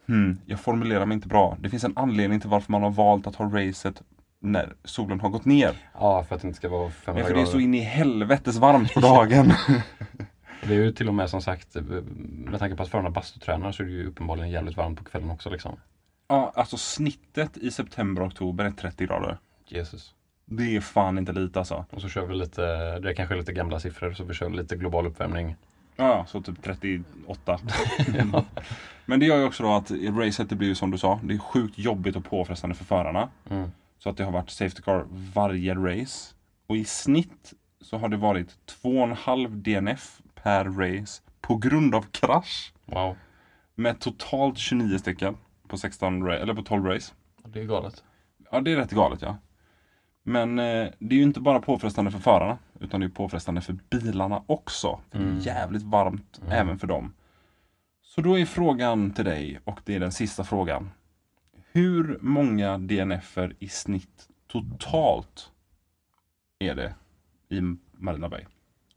[SPEAKER 1] hmm, jag formulerar mig inte bra. Det finns en anledning till varför man har valt att ha racet när solen har gått ner.
[SPEAKER 2] Ja, för att det inte ska vara
[SPEAKER 1] Ja,
[SPEAKER 2] 500
[SPEAKER 1] för det är
[SPEAKER 2] grader.
[SPEAKER 1] så in i helvetes varmt på dagen.
[SPEAKER 2] Det är ju till och med som sagt, eh, med tanke på att förarna bastutränar så är det ju uppenbarligen jävligt varmt på kvällen också liksom.
[SPEAKER 1] ja, alltså snittet i september och oktober är 30 grader.
[SPEAKER 2] Jesus.
[SPEAKER 1] Det är fan inte lite alltså.
[SPEAKER 2] Och så kör vi lite, det kanske är lite gamla siffror, så vi kör lite global uppvärmning.
[SPEAKER 1] Ja, så typ 38. Men det gör ju också då att racet det blir ju som du sa, det är sjukt jobbigt och påfrestande för förarna.
[SPEAKER 2] Mm.
[SPEAKER 1] Så att det har varit Safety Car varje race. Och i snitt så har det varit 2,5 DNF per race på grund av krasch.
[SPEAKER 2] Wow.
[SPEAKER 1] Med totalt 29 stycken på, 16, ra- eller på 12 race.
[SPEAKER 2] Det är galet.
[SPEAKER 1] Ja, det är rätt galet ja. Men eh, det är ju inte bara påfrestande för förarna, utan det är påfrestande för bilarna också. För Det är jävligt varmt även för dem. Så då är frågan till dig, och det är den sista frågan. Hur många DNFer i snitt totalt är det i Marina Bay?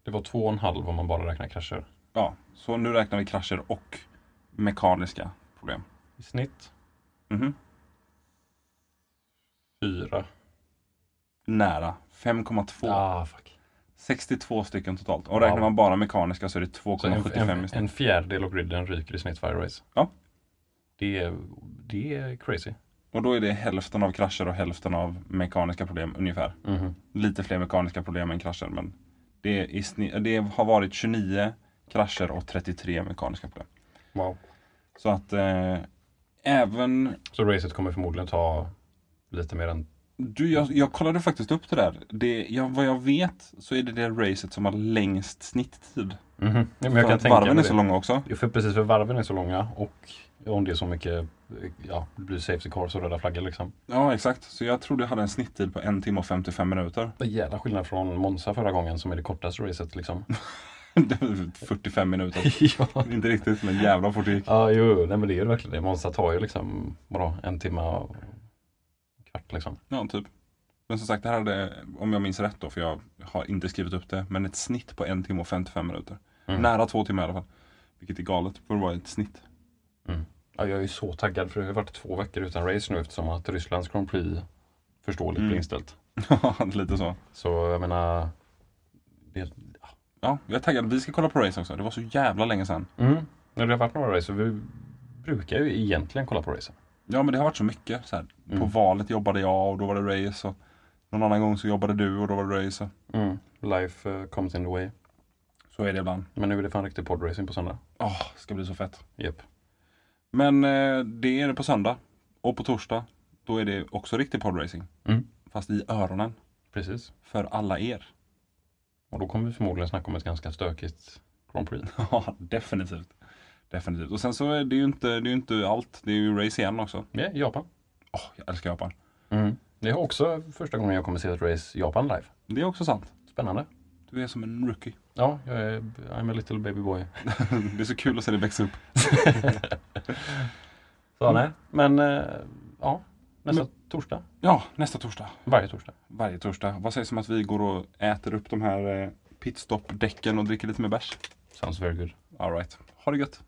[SPEAKER 2] Det var två och en halv om man bara räknar krascher.
[SPEAKER 1] Ja, så nu räknar vi krascher och mekaniska problem.
[SPEAKER 2] I snitt
[SPEAKER 1] Mhm.
[SPEAKER 2] fyra.
[SPEAKER 1] Nära, 5,2.
[SPEAKER 2] Ah, fuck.
[SPEAKER 1] 62 stycken totalt. Och räknar
[SPEAKER 2] Wow.
[SPEAKER 1] man bara mekaniska så är det
[SPEAKER 2] Så en,
[SPEAKER 1] 2,75
[SPEAKER 2] en,
[SPEAKER 1] istället.
[SPEAKER 2] en fjärdedel av griden ryker i snitt varje race.
[SPEAKER 1] Ja.
[SPEAKER 2] Det är, det är crazy.
[SPEAKER 1] Och då är det hälften av krascher och hälften av mekaniska problem ungefär.
[SPEAKER 2] Mhm.
[SPEAKER 1] Lite fler mekaniska problem än krascher men det, är i sni- det har varit 29 krascher och 33 mekaniska problem.
[SPEAKER 2] Wow.
[SPEAKER 1] Så att eh, även
[SPEAKER 2] Så racet kommer förmodligen ta lite mer än...
[SPEAKER 1] du, jag, jag kollade faktiskt upp det där. Det, ja, vad jag vet så är det det racet som har längst snitttid.
[SPEAKER 2] mm Ja, men jag
[SPEAKER 1] För
[SPEAKER 2] kan
[SPEAKER 1] att
[SPEAKER 2] tänka mig
[SPEAKER 1] varven är
[SPEAKER 2] det.
[SPEAKER 1] så långa också.
[SPEAKER 2] Jo, För precis, för varven är så långa och om det är så mycket, ja, det blir safety cars och röda flaggor liksom.
[SPEAKER 1] Ja exakt, så jag tror det hade en snitttid på en timme och 55 minuter.
[SPEAKER 2] Det är jävla skillnad från Monza förra gången som är det kortaste racet liksom.
[SPEAKER 1] 45 minuter.
[SPEAKER 2] ja.
[SPEAKER 1] Inte riktigt men jävla fort det gick.
[SPEAKER 2] Ja, jo, jo, nej men det är ju verkligen det. Monza tar ju liksom, vadå, en timme och en kvart liksom.
[SPEAKER 1] Ja, typ. Men som sagt, det här hade, om jag minns rätt då, för jag har inte skrivit upp det, men ett snitt på en timme och 55 minuter.
[SPEAKER 2] Mm.
[SPEAKER 1] Nära två timmar i alla fall. Vilket är galet, för det var ett snitt.
[SPEAKER 2] Ja, jag är ju så taggad för det har ju varit två veckor utan race nu eftersom att Rysslands Grand Prix förståeligt
[SPEAKER 1] Mm.
[SPEAKER 2] blir inställt.
[SPEAKER 1] Ja, lite så.
[SPEAKER 2] Så jag menar, det,
[SPEAKER 1] Ja, jag är taggad. Vi ska kolla på race också. Det var så jävla länge sedan.
[SPEAKER 2] mm. när det har varit några race och vi brukar ju egentligen kolla på racen.
[SPEAKER 1] Ja, men det har varit så mycket. Så här, På
[SPEAKER 2] Mm.
[SPEAKER 1] valet jobbade jag och då var det race. Och någon annan gång så jobbade du och då var det race. Och
[SPEAKER 2] Mm. Life eh, comes in the way.
[SPEAKER 1] så är det ibland.
[SPEAKER 2] Men nu är det fan riktig podracing på söndag.
[SPEAKER 1] Åh, ska bli så fett.
[SPEAKER 2] Japp.
[SPEAKER 1] Men eh, det är det på söndag. Och på torsdag, då är det också riktig podracing.
[SPEAKER 2] Mm.
[SPEAKER 1] Fast i öronen.
[SPEAKER 2] Precis.
[SPEAKER 1] För alla er.
[SPEAKER 2] Och då kommer vi förmodligen snacka om ett ganska stökigt Grand Prix.
[SPEAKER 1] Ja, definitivt. Definitivt. Och sen så är det ju inte, det är ju inte allt. Det är ju race igen också.
[SPEAKER 2] Ja, Japan.
[SPEAKER 1] Åh, jag älskar Japan.
[SPEAKER 2] Det är också första gången jag kommer se ett race Japan live.
[SPEAKER 1] Det är också sant.
[SPEAKER 2] Spännande.
[SPEAKER 1] Du är som en rookie.
[SPEAKER 2] Ja, jag är, I'm a little baby boy.
[SPEAKER 1] det är så kul att se dig växa upp.
[SPEAKER 2] Så nej, men eh, ja, nästa torsdag.
[SPEAKER 1] Ja, nästa torsdag.
[SPEAKER 2] Varje torsdag.
[SPEAKER 1] Varje torsdag. Vad sägs om att vi går och äter upp de här eh, pitstop-däcken och dricker lite mer bärs?
[SPEAKER 2] Sounds very good.
[SPEAKER 1] Alright. Ha det gött.